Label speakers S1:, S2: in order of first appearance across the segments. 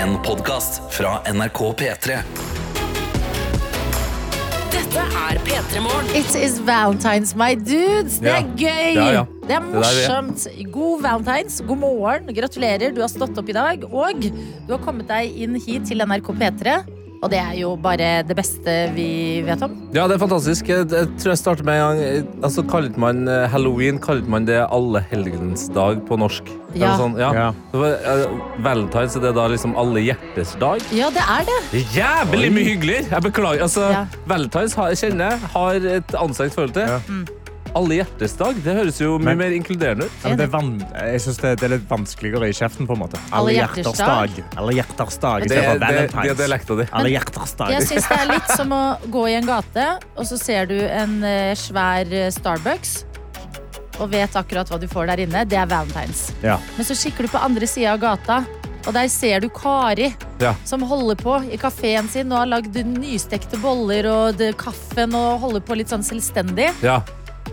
S1: En podcast fra NRK P3
S2: Dette er P3 Morgen.
S3: It is Valentine's, my dudes. Det er
S4: Ja.
S3: gøy!
S4: Ja, ja.
S3: Det
S4: der
S3: er
S4: vi er.
S3: morsomt. God valentines, god morgen. Gratulerer, du har stått opp i dag. Og du har kommet deg inn hit til NRK P3. Og det er jo bare det beste vi vet om.
S4: Ja, det er fantastisk. Jeg, jeg tror jeg starter med en gang eh, Altså, kallet man eh, halloween kallet man det allehelgens dag på norsk? Eller
S3: Ja.
S4: Sånn, ja.
S5: Ja.
S4: Det var, eh, Valentine's er det da liksom alle hjertes dag?
S3: Ja, det er det.
S4: Jævlig mye hyggeligere! Jeg beklager. Altså,
S3: Ja.
S4: Valentine's har, kjenner jeg har et anstrengt forhold til.
S5: Ja.
S4: Alle hjertes dag, det høres jo mye
S5: Men-
S4: mer inkluderende ut.
S5: Ja, men det er van jeg synes det, det er litt vanskeligere i kjeften, på en måte.
S3: Alle hjerters dag.
S5: Alle hjerters dag.
S4: Det er,
S5: istedenfor
S4: det,
S5: Valentine's.
S4: det er dialekta di.
S5: Alle hjerters dag.
S3: Jeg syns det er litt som å gå i en gate, og så ser du en eh, svær eh, Starbucks. Og vet akkurat hva du får der inne. Det er valentines.
S5: Ja.
S3: Men så kikker du på andre sida av gata, og der ser du Kari.
S4: Ja.
S3: Som holder på i kafeen sin og har lagd nystekte boller og det- kaffen og holder på litt sånn selvstendig.
S4: Ja.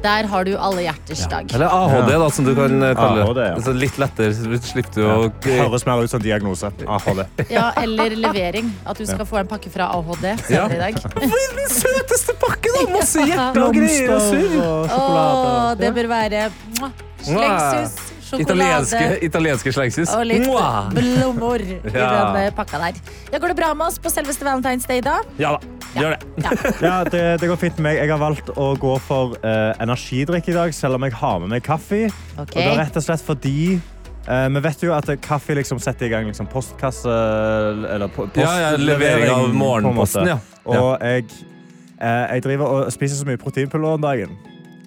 S3: Der har du alle hjerters dag.
S4: Eller AHD, da, som du kan eh, kalle
S5: AHD,
S4: det.
S5: ja.
S4: Altså, litt lettere, så slipper du
S5: Ja.
S4: å
S5: Høres mer ut som diagnose. Ah, AHD.
S3: Ja, eller levering. At du skal få en pakke fra AHD
S4: Ja.
S3: senere i dag.
S4: Den søteste pakke, da! Masse hjerter og greier og
S5: Blomster
S4: surr.
S5: og
S3: Åh,
S5: sjokolade.
S3: det bør være mwah, slengsus,
S4: Italienske,
S3: sjokolade
S4: italienske slengshus.
S3: og litt
S4: Mwah!
S3: blomster i
S4: Ja.
S3: den eh, pakka der. Ja, går det bra med oss på selveste Valentine's Day, da?
S4: Ja da, gjør det.
S3: Ja.
S5: Ja, det, det går fint med meg. Jeg har valgt å gå for eh, energidrikk i dag, selv om jeg har med meg kaffe.
S3: Ok.
S5: Og det er rett og slett fordi eh, vi vet jo at kaffe liksom setter i gang liksom postkasse Eller po- postlevering.
S4: Ja, ja, levering av morgenposten,
S5: på en
S4: ja.
S5: måte. Og jeg, eh, jeg driver og spiser så mye proteinpiller om dagen.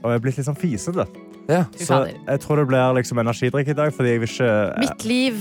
S5: Og jeg er blitt litt sånn fisete.
S4: Ja.
S5: Så
S3: fader.
S5: jeg tror det blir liksom energidrikk i dag, fordi jeg vil ikke eh,
S3: Mitt liv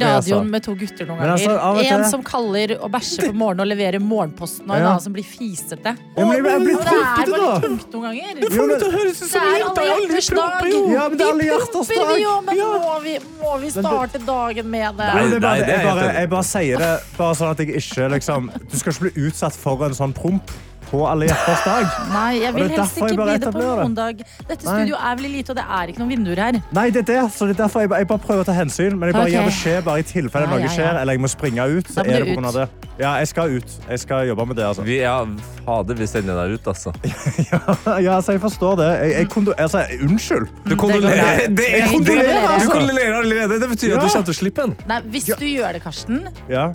S3: i radioen
S5: altså.
S3: med to gutter noen
S5: Men altså,
S3: ganger.
S5: av og til-
S3: en som kaller og bæsjer på morgenen og leverer morgenposten, og en
S5: Ja.
S3: annen som blir fisete.
S5: Ja, men jeg- jeg blir
S3: det er
S5: tråkete,
S3: bare
S5: da.
S3: tungt noen ganger.
S5: Jo, men-
S3: Det er alle hjerters dag.
S5: Ja, men det er alle
S3: vi
S5: hjerters
S3: propper, vi
S5: dag.
S3: òg, men
S5: Ja.
S3: må vi, må vi starte dagen med det?
S4: Nei,
S5: Jo, det er bare,
S4: nei, det er
S5: jeg,
S4: helt
S5: bare,
S4: enig.
S5: jeg bare sier det bare sånn at jeg ikke liksom Du skal ikke bli utsatt for en sånn promp på alle hjerters dag.
S3: Nei, jeg
S5: Og
S3: vil
S5: det er
S3: helst
S5: derfor jeg
S3: ikke
S5: bare
S3: bli det på
S5: etablerer det.
S3: noen dag. Dette
S5: Nei.
S3: studioet er veldig lite, og det er ikke noen vinduer her.
S5: Nei, det er det. Så det er derfor jeg, bare- jeg bare prøver å ta hensyn. Men jeg bare
S3: Ok.
S5: gir beskjed bare i tilfelle
S3: Ja,
S5: noe
S3: ja, ja.
S5: skjer, eller jeg må springe ut. Så
S3: Da må
S5: er
S3: du
S5: det på grunn av det. Ja, jeg skal ut. Jeg skal jobbe med det, altså.
S4: Vi, ja, fader, vi sender deg ut, altså.
S5: Ja, altså, jeg forstår det. Jeg, jeg kondo... Altså, unnskyld.
S4: Du
S3: kondolerer-
S4: kondolerer, det er,
S3: Jeg kondolerer.
S4: kondolerer, altså. Du kondolerer allerede. Det betyr at du
S5: Ja.
S4: kommer til å slippe en.
S3: Nei, hvis du gjør det, Karsten,
S5: Ja.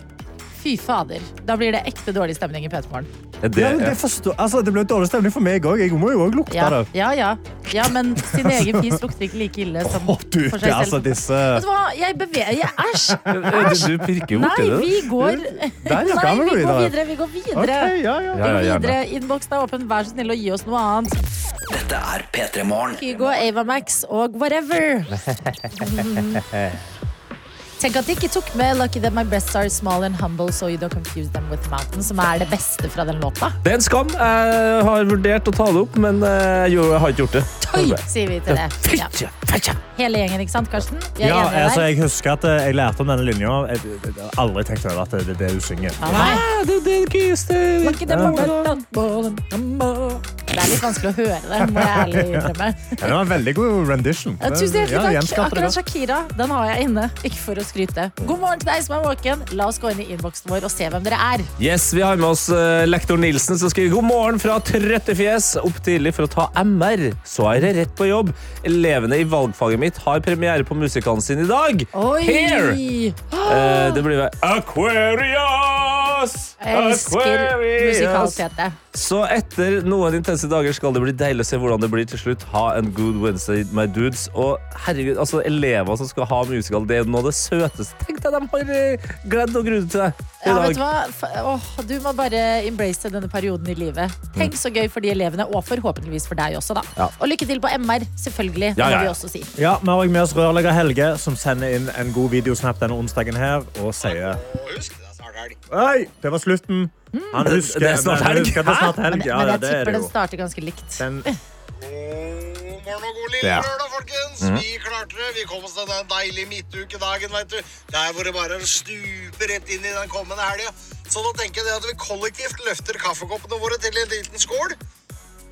S3: fy fader. Da blir det ekte dårlig stemning i P3morgen.
S4: Er
S5: ja, men det forstår Altså, det ble dårlig stemning for meg òg. Jeg må jo òg lukte
S3: Ja,
S5: det.
S3: ja, ja. ja, men sin egen fis lukter ikke like ille som
S5: Å, du,
S3: for seg
S5: det er altså
S3: selv.
S5: disse
S3: Vet du hva, jeg beveger jeg- Æsj!
S4: Du pirker jo
S3: Nei,
S4: borti det.
S3: vi går
S5: Der ja,
S3: Nei,
S5: kan vi
S3: vi
S5: gå
S3: går
S5: videre.
S3: videre. Vi går videre.
S5: OK, ja, ja.
S3: Vi går
S4: Ja, ja, gjerne.
S3: videre. Innboksen er åpen. Vær så snill å gi oss noe annet.
S1: Dette er P3 Morgen
S3: Kygo, Ava Max og whatever. Tenk at de ikke tok med Lucky That My Breasts Are Small and Humble So You Don't Confuse Them With Mountain, som er det beste fra den låta.
S4: Det er en skam. Jeg har vurdert å ta det opp, men eh, jo, jeg har ikke gjort det.
S3: Tøy, sier vi til det. Ja.
S4: Fitja, fitja.
S3: Hele gjengen, ikke sant, Karsten? Vi er
S5: Ja,
S3: enige
S5: altså,
S3: der.
S5: jeg husker at eh, jeg lærte om denne linja. Jeg jeg har aldri tenkt over at det det er det hun synger.
S3: Ja, nei.
S4: Ah, Det det er det gøyeste
S3: Lucky That My Breasts Are Small and Humble. Det er litt vanskelig å høre det, må jeg ærlig innrømme.
S5: Ja, det var en veldig god rendition.
S3: Ja, tusen
S5: Ja,
S3: hjertelig takk.
S5: gjenskapte det
S3: Akkurat
S5: godt.
S3: Shakira den har jeg inne. Ikke for å skryte. God morgen til deg som er våken. La oss gå inn i innboksen vår og se hvem dere er.
S4: Yes, Vi har med oss eh, lektor Nilsen, som skriver god morgen fra trøttefjes. Opp tidlig for å ta MR, så er det rett på jobb. Elevene i valgfaget mitt har premiere på musikalen sin i dag.
S3: Oi!
S4: Here! Eh, det blir vel Aquarius!
S3: Jeg elsker musikal-PT.
S4: Så etter noen intense dager skal det bli deilig å se hvordan det blir til slutt. Ha en good Wednesday, my dudes. Og herregud, altså elever som skal ha musikal, det er jo noe av det søteste. Tenk deg, de har eh, gledd og grudd til det i
S3: Ja, vet
S4: dag.
S3: du hva? F- åh, du må bare embrace denne perioden i livet.
S5: Mm.
S3: Tenk så gøy for de elevene, og forhåpentligvis for deg også. da.
S4: Ja.
S3: Og lykke til på MR, selvfølgelig.
S4: Ja, ja,
S3: det må vi
S4: ja.
S3: også si.
S5: Ja, Vi har også med oss rørlegger Helge, som sender inn en god videosnap denne onsdagen her og sier Oi, det var slutten. Han husker
S4: Det er snart
S5: men han
S4: helg.
S5: husker at Det er snart
S3: Men,
S5: helg. Ja,
S3: men
S5: ja,
S3: jeg
S5: det er
S3: tipper
S5: det
S3: den
S5: jo.
S3: starter ganske likt.
S5: Den,
S6: God morgen og god lille
S5: Der.
S6: lørdag, folkens. Vi klarte det. Vi kom oss til den deilige midtukedagen, vet du. Der hvor det bare stuper rett inn i den kommende helga. Så nå tenker jeg det at vi kollektivt løfter kaffekoppene våre til en liten skål.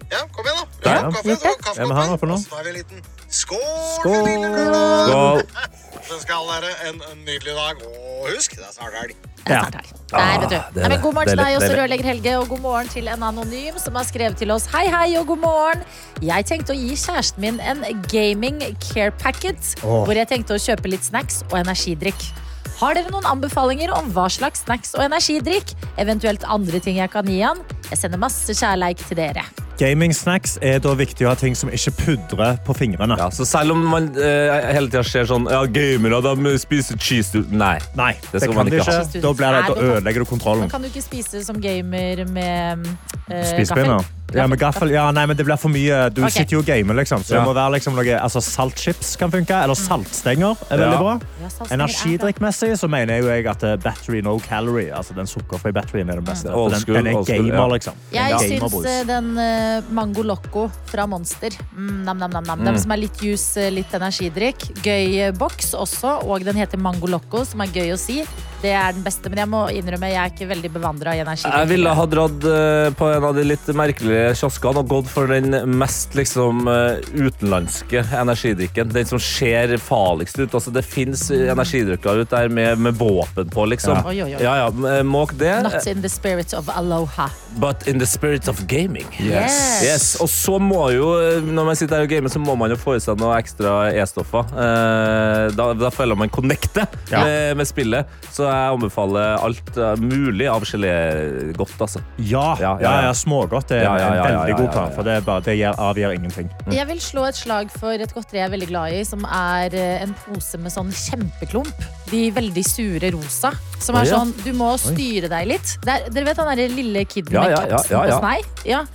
S6: Ja, kom igjen, da.
S5: Der, ja.
S6: Løft opp kaffen, så
S5: Hvem er han oppe
S6: kaffekoppen.
S5: nå?
S6: Og så tar vi en liten skål,
S5: Skål.
S6: for lille lørdag.
S4: Skål.
S6: Så skal dere en en nydelig dag. Og husk, det er snart helg.
S3: Jeg
S4: Ja.
S3: tar thai. Nei,
S4: Ah,
S3: vet du.
S4: det er
S3: Nei, men
S4: det.
S3: god morgen til
S4: Det er
S3: deg
S4: det.
S3: også,
S4: Det er
S3: rørlegger Helge, og god morgen til en anonym som har skrevet til oss. Hei, hei og god morgen. Jeg tenkte å gi kjæresten min en gaming care packet,
S5: Åh.
S3: hvor jeg tenkte å kjøpe litt snacks og energidrikk. Har dere noen anbefalinger om hva slags snacks og energidrikk? Eventuelt andre ting jeg kan gi han? Jeg sender masse kjærleik til dere.
S5: Gaming-snacks er da viktig å ha ting som ikke pudrer på fingrene.
S4: Ja, så selv om man eh, hele tida ser sånn Ja, gamere, de spiser cheese du Nei.
S5: Nei,
S4: Det
S5: det,
S4: skal
S5: kan
S4: man
S5: du
S4: ikke
S5: ikke.
S4: ha.
S5: Da, blir det,
S3: Nei,
S5: da
S3: da-
S5: ødelegger du kontrollen.
S3: Men kan du ikke spise som gamer med eh,
S5: Spisepinner.
S3: gaffel?
S5: Ja, med gaffel. Ja, nei, men det blir for mye. Du
S3: Ok.
S5: sitter jo og gamer, liksom. Så
S4: Ja.
S5: det må være liksom noe altså, Saltchips kan funke. Eller saltstenger er veldig
S4: Ja.
S5: bra.
S3: Ja, saltstenger er
S5: Energidrikkmessig så mener jeg jo jeg at eh, battery no calorie, altså den sukkerfrie batterien, er den beste.
S4: Mm. Old
S5: For Den,
S4: school,
S5: den er
S4: old school, ja.
S5: gamer, liksom. Den
S3: Jeg
S5: er
S3: syns
S5: gamerbrus.
S3: eh, den eh, Mango Loco fra Monster mm, nam, nam, nam, nam. Den som er litt juice, eh, litt energidrikk. Gøy eh, boks også, og den heter Mango Loco, som er gøy å si. Det er den beste, men jeg må innrømme jeg er ikke veldig bevandra i
S4: Jeg
S3: energidrikk.
S4: ville ha dratt eh, på en av de litt merkelige kioskene og gått for den mest liksom, eh, utenlandske energidrikken. Den som ser farligst ut. Altså, det fins energidrikker ut der med, med våpen på, liksom.
S3: Oi, oi, oi.
S4: Ja, ja, m- eh, Måk det.
S3: Not in the spirit of aloha.
S4: But in the spirit of gaming.
S3: Yes.
S4: Yes, Og så må jo, eh, når man sitter her og gamer, så må man jo få i seg noe ekstra E-stoffer. Eh, Da, da føler man connecte
S5: Ja.
S4: med, med spillet. Så jeg anbefaler alt eh, mulig av gelégodt, altså.
S5: Ja, ja,
S4: ja,
S5: ja,
S4: ja.
S5: smågodt er
S4: Ja, ja, ja,
S5: en
S4: ja,
S5: veldig
S4: ja,
S5: god
S4: ja,
S5: plan,
S4: ja.
S5: for det, er bare, det gjør, avgjør ingenting.
S4: Mm.
S3: Jeg vil slå et slag for et godteri jeg er veldig glad i, som er eh, en pose med sånn kjempeklump. De veldig sure rosa. Som
S4: Å,
S3: er
S4: ja.
S3: sånn, du må styre deg litt. Det er- dere vet han derre lille kiden
S4: Ja,
S3: med
S4: ja, ja,
S3: kapsen
S4: ja, ja.
S3: på snei? Ja.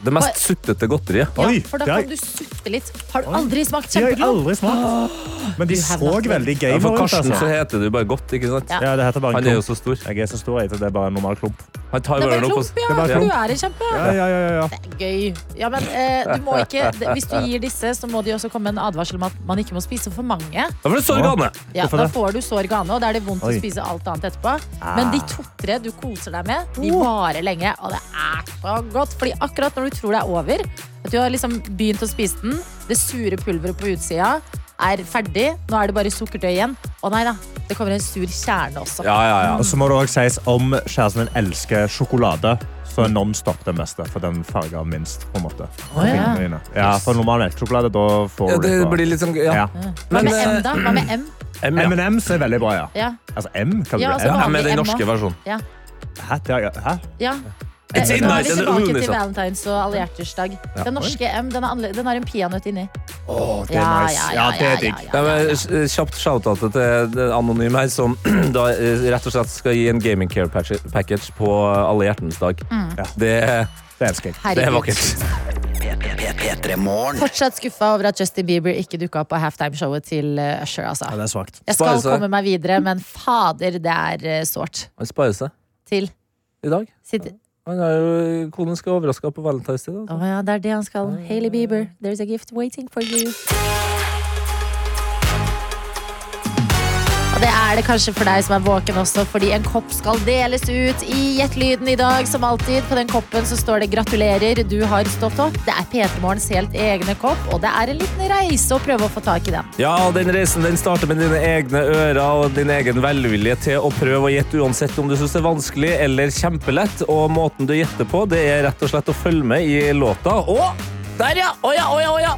S4: Det mest suttete godteriet.
S3: Ja,
S5: Oi,
S3: for da
S5: det er-
S3: kan du sutte litt. Har du aldri smakt
S5: De har jeg
S3: kjempeklump?
S5: aldri smakt. Men de
S3: You have
S5: så
S3: nothing.
S5: veldig
S4: Ja,
S5: gamer
S4: for
S5: ut.
S4: Karsten så
S5: Altså.
S4: heter det jo bare godt, ikke sant?
S3: Ja.
S5: Ja, det heter bare
S4: Han er jo
S5: en klump.
S4: så stor.
S5: Jeg er så stor, jeg, så det er bare en normal klump.
S4: Han tar
S3: Det er
S4: bare
S3: bare
S4: noe på
S3: klump,
S5: Det er
S3: ja.
S5: bare
S3: Du
S5: klump.
S3: er en kjempe.
S5: Ja, ja, ja, ja, ja.
S3: Gøy. Ja, men eh, du må ikke, det- hvis du gir disse, så må de også komme med en advarsel om at man ikke må spise for mange.
S4: Ja, for det står i
S5: Ja.
S4: gamet.
S3: Ja,
S5: Hvorfor
S3: da
S5: det?
S3: får du sår gane, og da er det vondt
S5: Oi. Ah.
S3: å spise alt annet etterpå. Men de to-tre du koser deg med, de
S5: Oh.
S3: varer lenge, og det er så godt. Fordi akkurat når du tror det er over, at du har liksom begynt å spise den, det sure pulveret på utsida er ferdig, nå er det bare sukkertøy igjen. Å nei da, det kommer en sur kjerne også.
S4: Ja, ja, ja.
S5: Og så må det også sies om kjæresten min elsker sjokolade, så er Nonstop den beste. For den farger minst, på en måte. på
S3: ja.
S5: fingrene dine. ja, for normal melkesjokolade, da får
S4: ja
S5: du
S4: det
S5: litt
S4: blir
S5: bra.
S4: litt sånn Ja.
S5: Ja. Mm.
S3: Hva
S4: Men,
S3: med M,
S4: eh,
S3: da? Hva med M?
S4: M, ja.
S5: M&M's er veldig bra, ja.
S3: Ja.
S5: Altså M, kan du
S3: Ja,
S5: ja,
S3: altså,
S4: Ja, med den
S3: Vanlig M
S4: norske
S3: også.
S4: versjonen.
S5: Hæ? Det er- Hæ?
S3: ja.
S4: It's
S3: Eh,
S4: in
S3: Nå er vi
S4: nice and
S3: tilbake
S4: only,
S3: til
S4: sant?
S3: valentines og allhjertersdag. Den norske M den, er annerledes- den har en peanøtt inni.
S5: Å, det er nice. Ja, det er digg.
S4: Ja, men, eh, kjapt shout-out til det anonyme her, som da eh, rett og slett skal gi en gaming care patch- package på alle hjertens dag.
S5: Ja.
S4: Det,
S5: Det elsker jeg.
S4: det er
S3: Herregud.
S4: vakkert.
S1: P3 Morgen.
S3: Fortsatt skuffa over at Justin Bieber ikke dukka opp på halftimeshowet til eh, Usher.
S5: Ja,
S3: Altså.
S5: det er svakt.
S3: Jeg skal
S4: Bare så-
S3: komme meg videre, men fader, det er eh, sårt.
S4: Han sparer seg
S3: Til
S4: i dag.
S3: sitt
S4: Han er jo, konen skal overraske ham på Valentine's Day.
S3: Å
S4: da.
S3: ja, det er det han skal. Hailey Bieber, there's a gift waiting for you. Og det er det kanskje for deg som er våken også, fordi en kopp skal deles ut i Gjett lyden i dag, som alltid. På den koppen så står det 'Gratulerer, du har stått opp'. Det er P3 Morgens helt egne kopp, og det er en liten reise å prøve å få tak i den.
S4: Ja, og den reisen den starter med dine egne ører og din egen velvilje til å prøve å gjette uansett om du syns det er vanskelig eller kjempelett. Og måten du gjetter på, det er rett og slett å følge med i låta. Å, der ja! Å ja, å ja, å ja!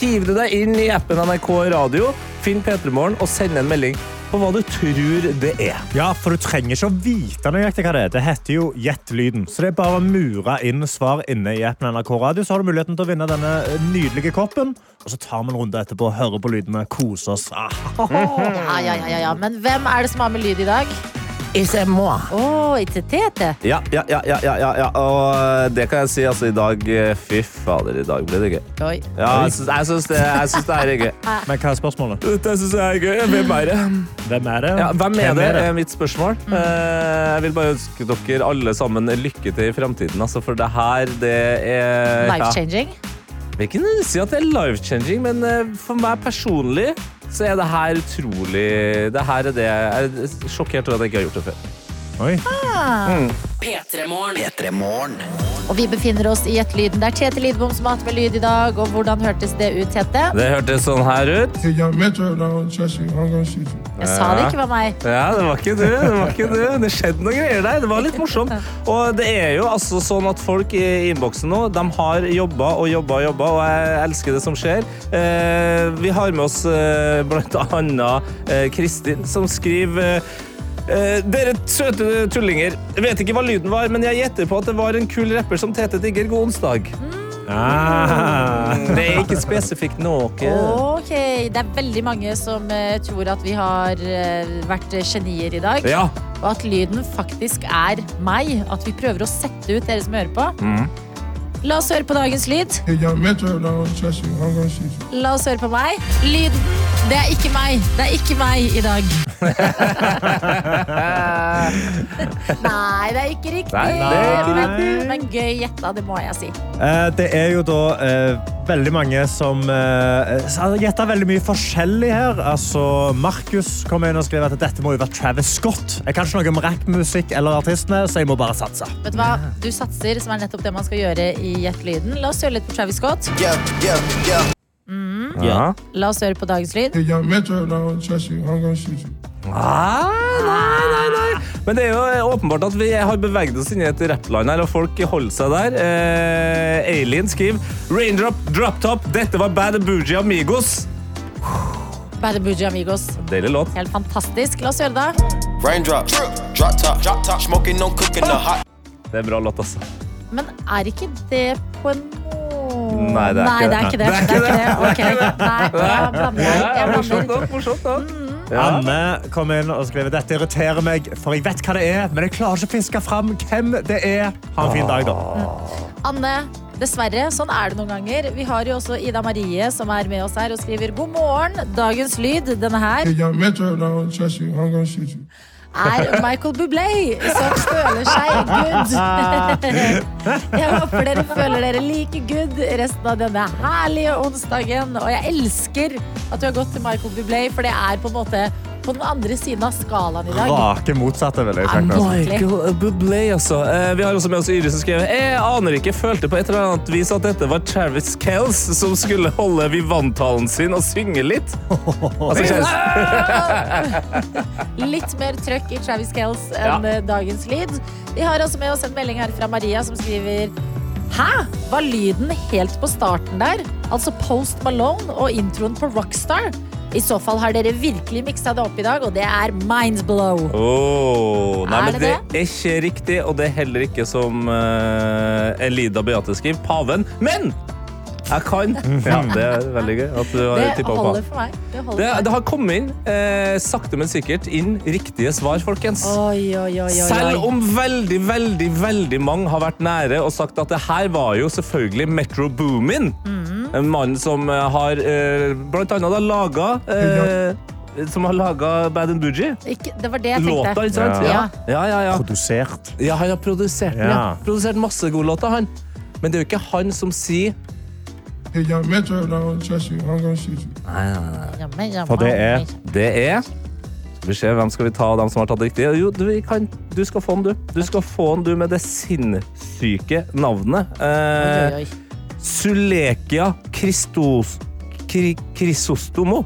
S4: Hiv du deg inn i appen NRK Radio, finn P3morgen og send en melding på hva du tror det er.
S5: Ja, for du trenger ikke å vite nøyaktig hva det er. Det heter jo Gjett lyden. Så det er bare å mure inn svar inne i appen NRK Radio, så har du muligheten til å vinne denne eh, nydelige koppen. Og så tar vi en runde etterpå og hører på lydene, koser oss. Ah,
S3: Ja, ja, ja, ja, ja. Men hvem er det som har med lyd i dag?
S4: Ikke moi.
S3: Å, ikke Tete.
S4: Ja, ja, ja, ja, ja, ja, ja. Og det kan jeg si, altså, i dag eh, Fy fader, i dag ble det gøy.
S3: Oi.
S4: Ja, jeg syns- jeg syns det, jeg syns det her er gøy.
S5: Men hva er spørsmålet?
S4: Dette syns jeg er gøy. Hvem er det?
S5: Hvem er det?
S4: Ja, hvem er det,
S5: Hvem
S4: er mitt spørsmål. Eh, Jeg vil bare ønske dere alle sammen lykke til i fremtiden, altså, for det her, det er
S3: Life changing.
S4: Ja, Vi kan si at det er life-changing, men eh, for meg personlig så er det her utrolig Det her er det Jeg Eh, er sjokkert over at jeg ikke har gjort det før.
S5: Oi.
S1: P3 Morgen.
S3: Og vi befinner oss i Gjettelyden. Det er Tete Lidbom som har hatt med lyd i dag. Og hvordan hørtes det ut, Tete?
S4: Det hørtes sånn her ut.
S7: Hey, yo, Metro, don't trust you. I'm gonna shoot you.
S3: Jeg sa det ikke var meg.
S4: Ja, det var ikke du. Det var ikke du. Det skjedde noen greier der. Det var litt morsomt. Og det er jo altså sånn at folk i innboksen nå, de har jobba og jobba og jobba, og jeg elsker det som skjer. Eh, vi har med oss eh, blant annet eh, Kristin, som skriver eh, eh, dere søte tullinger. Jeg vet ikke hva lyden var, men jeg gjetter på at det var en kul rapper som Tete digger. God onsdag.
S5: Ah.
S4: Mm. Det er ikke spesifikt noe.
S3: Ok, Det er veldig mange som eh, tror at vi har eh, vært genier i dag.
S4: Ja.
S3: Og at lyden faktisk er meg. At vi prøver å sette ut dere som hører på.
S4: Mm.
S3: La oss høre på dagens lyd.
S7: Hey, yo, Metro, don't trust you. I'm gonna shoot you.
S3: La oss høre på meg. Lyden. Det er ikke meg. Det er ikke meg i dag. Nei, det er ikke riktig.
S4: Nei, det er ikke
S3: Men, men gøy gjetta, det må jeg si.
S5: Eh, Det er jo da eh, veldig mange som eh, har gjetta veldig mye forskjellig her. Altså, Markus kom inn og skrev at dette må jo være Travis Scott. Jeg kan ikke noe om rappmusikk eller artistene, så jeg må bare satse.
S3: Vet du hva? Du satser, som er nettopp det man skal gjøre i Gjett lyden. La oss høre litt på Travis Scott.
S4: ja.
S3: La oss høre på dagens lyd.
S7: Hey, yo, Metro, don't trust you. I'm gonna shoot you.
S4: Ah, nei, nei, nei. Men det er jo åpenbart at vi har beveget oss inn i et rappline her, og folk holder seg der. Eh, Alien skriver Raindrop, drop top, dette var Bad Boogie Amigos.
S3: Bad Boogie Amigos.
S4: Deilig låt.
S3: Helt fantastisk. La oss høre det.
S8: Raindrop, drop top, drop top, smoking, no cooking, the hot.
S4: Det er bra låt, altså.
S3: Men er ikke det på en måte
S4: Nei, det er
S3: Nei,
S4: ikke
S3: det er
S4: det.
S3: ikke det. Det er ikke det. Ok. Nei, da blander jeg.
S4: Ja,
S3: Jeg
S4: morsomt
S3: blander.
S4: da, morsomt da. Ja.
S5: Anne kom inn og skrev dette irriterer meg, for jeg vet hva det er, men jeg klarer ikke å fiske fram hvem det er. Ha en fin dag, da.
S3: Anne, dessverre, sånn er det noen ganger. Vi har jo også Ida Marie som er med oss her og skriver god morgen. Dagens lyd, denne her,
S7: Hey, yo, Metro, don't trust you. I'm gonna shoot you.
S3: er Michael Bublé som føler seg good. Jeg håper dere føler dere like good resten av denne herlige onsdagen. Og jeg elsker at du har gått til Michael Bublé, for det er på en måte på den andre siden av skalaen i dag.
S5: Rake motsatte, vil jeg tenke.
S3: Anne.
S4: Michael Bublé, altså. Eh, vi har også med oss Yre som skrev Jeg aner ikke, følte på et eller annet vis at dette var Travis Kells som skulle holde Vivant-talen sin og synge litt. Altså, Travis-
S3: Ah! Litt mer trøkk i Travis Kells enn eh, dagens lyd. Vi har også med oss en melding her fra Maria som skriver Hæ? Var lyden helt på starten der? Altså Post Malone og introen på Rockstar? I så fall har dere virkelig miksa det opp i dag, og det er mindsblow.
S4: Oh, nei,
S3: Er
S4: men
S3: det
S4: det er ikke riktig, og det er heller ikke som eh, Elida Beate skriver. Paven. Men jeg kan! Ja, det er veldig gøy at du har
S3: Det
S4: tippa på
S3: holder
S4: paven.
S3: for meg. Det
S4: Det,
S3: holder
S4: det
S3: for meg.
S4: har kommet inn, eh, sakte, men sikkert, inn riktige svar, folkens.
S3: Oi, oi, oi, oi,
S4: Selv
S3: oi.
S4: om veldig, veldig veldig mange har vært nære og sagt at det her var jo selvfølgelig Metro Boomin.
S3: Mm.
S4: En mann som eh, har eh, blant annet da laga eh, Som har laga Bad and Boogie.
S3: Ikke, det var det jeg tenkte.
S4: Låta, ikke sant?
S3: Ja.
S4: ja, ja. ja.
S5: Produsert.
S4: Ja, han har produsert den.
S5: Ja.
S4: Ja. Produsert masse gode låter, han. Men det er jo ikke han som sier
S7: Hey, yo, Metro, don't trust you. I'm gonna shoot you.
S3: Jammen, jammen.
S5: For det er
S4: Det er Skal vi se, hvem skal vi ta av dem som har tatt det riktig? Jo, du, vi kan, du skal få den, du. Du skal få den, du, med det sinnssyke navnet.
S3: Oi,
S4: Eh,
S3: oi, oi.
S4: Sulekia Kristos... Kri, Krisostomo.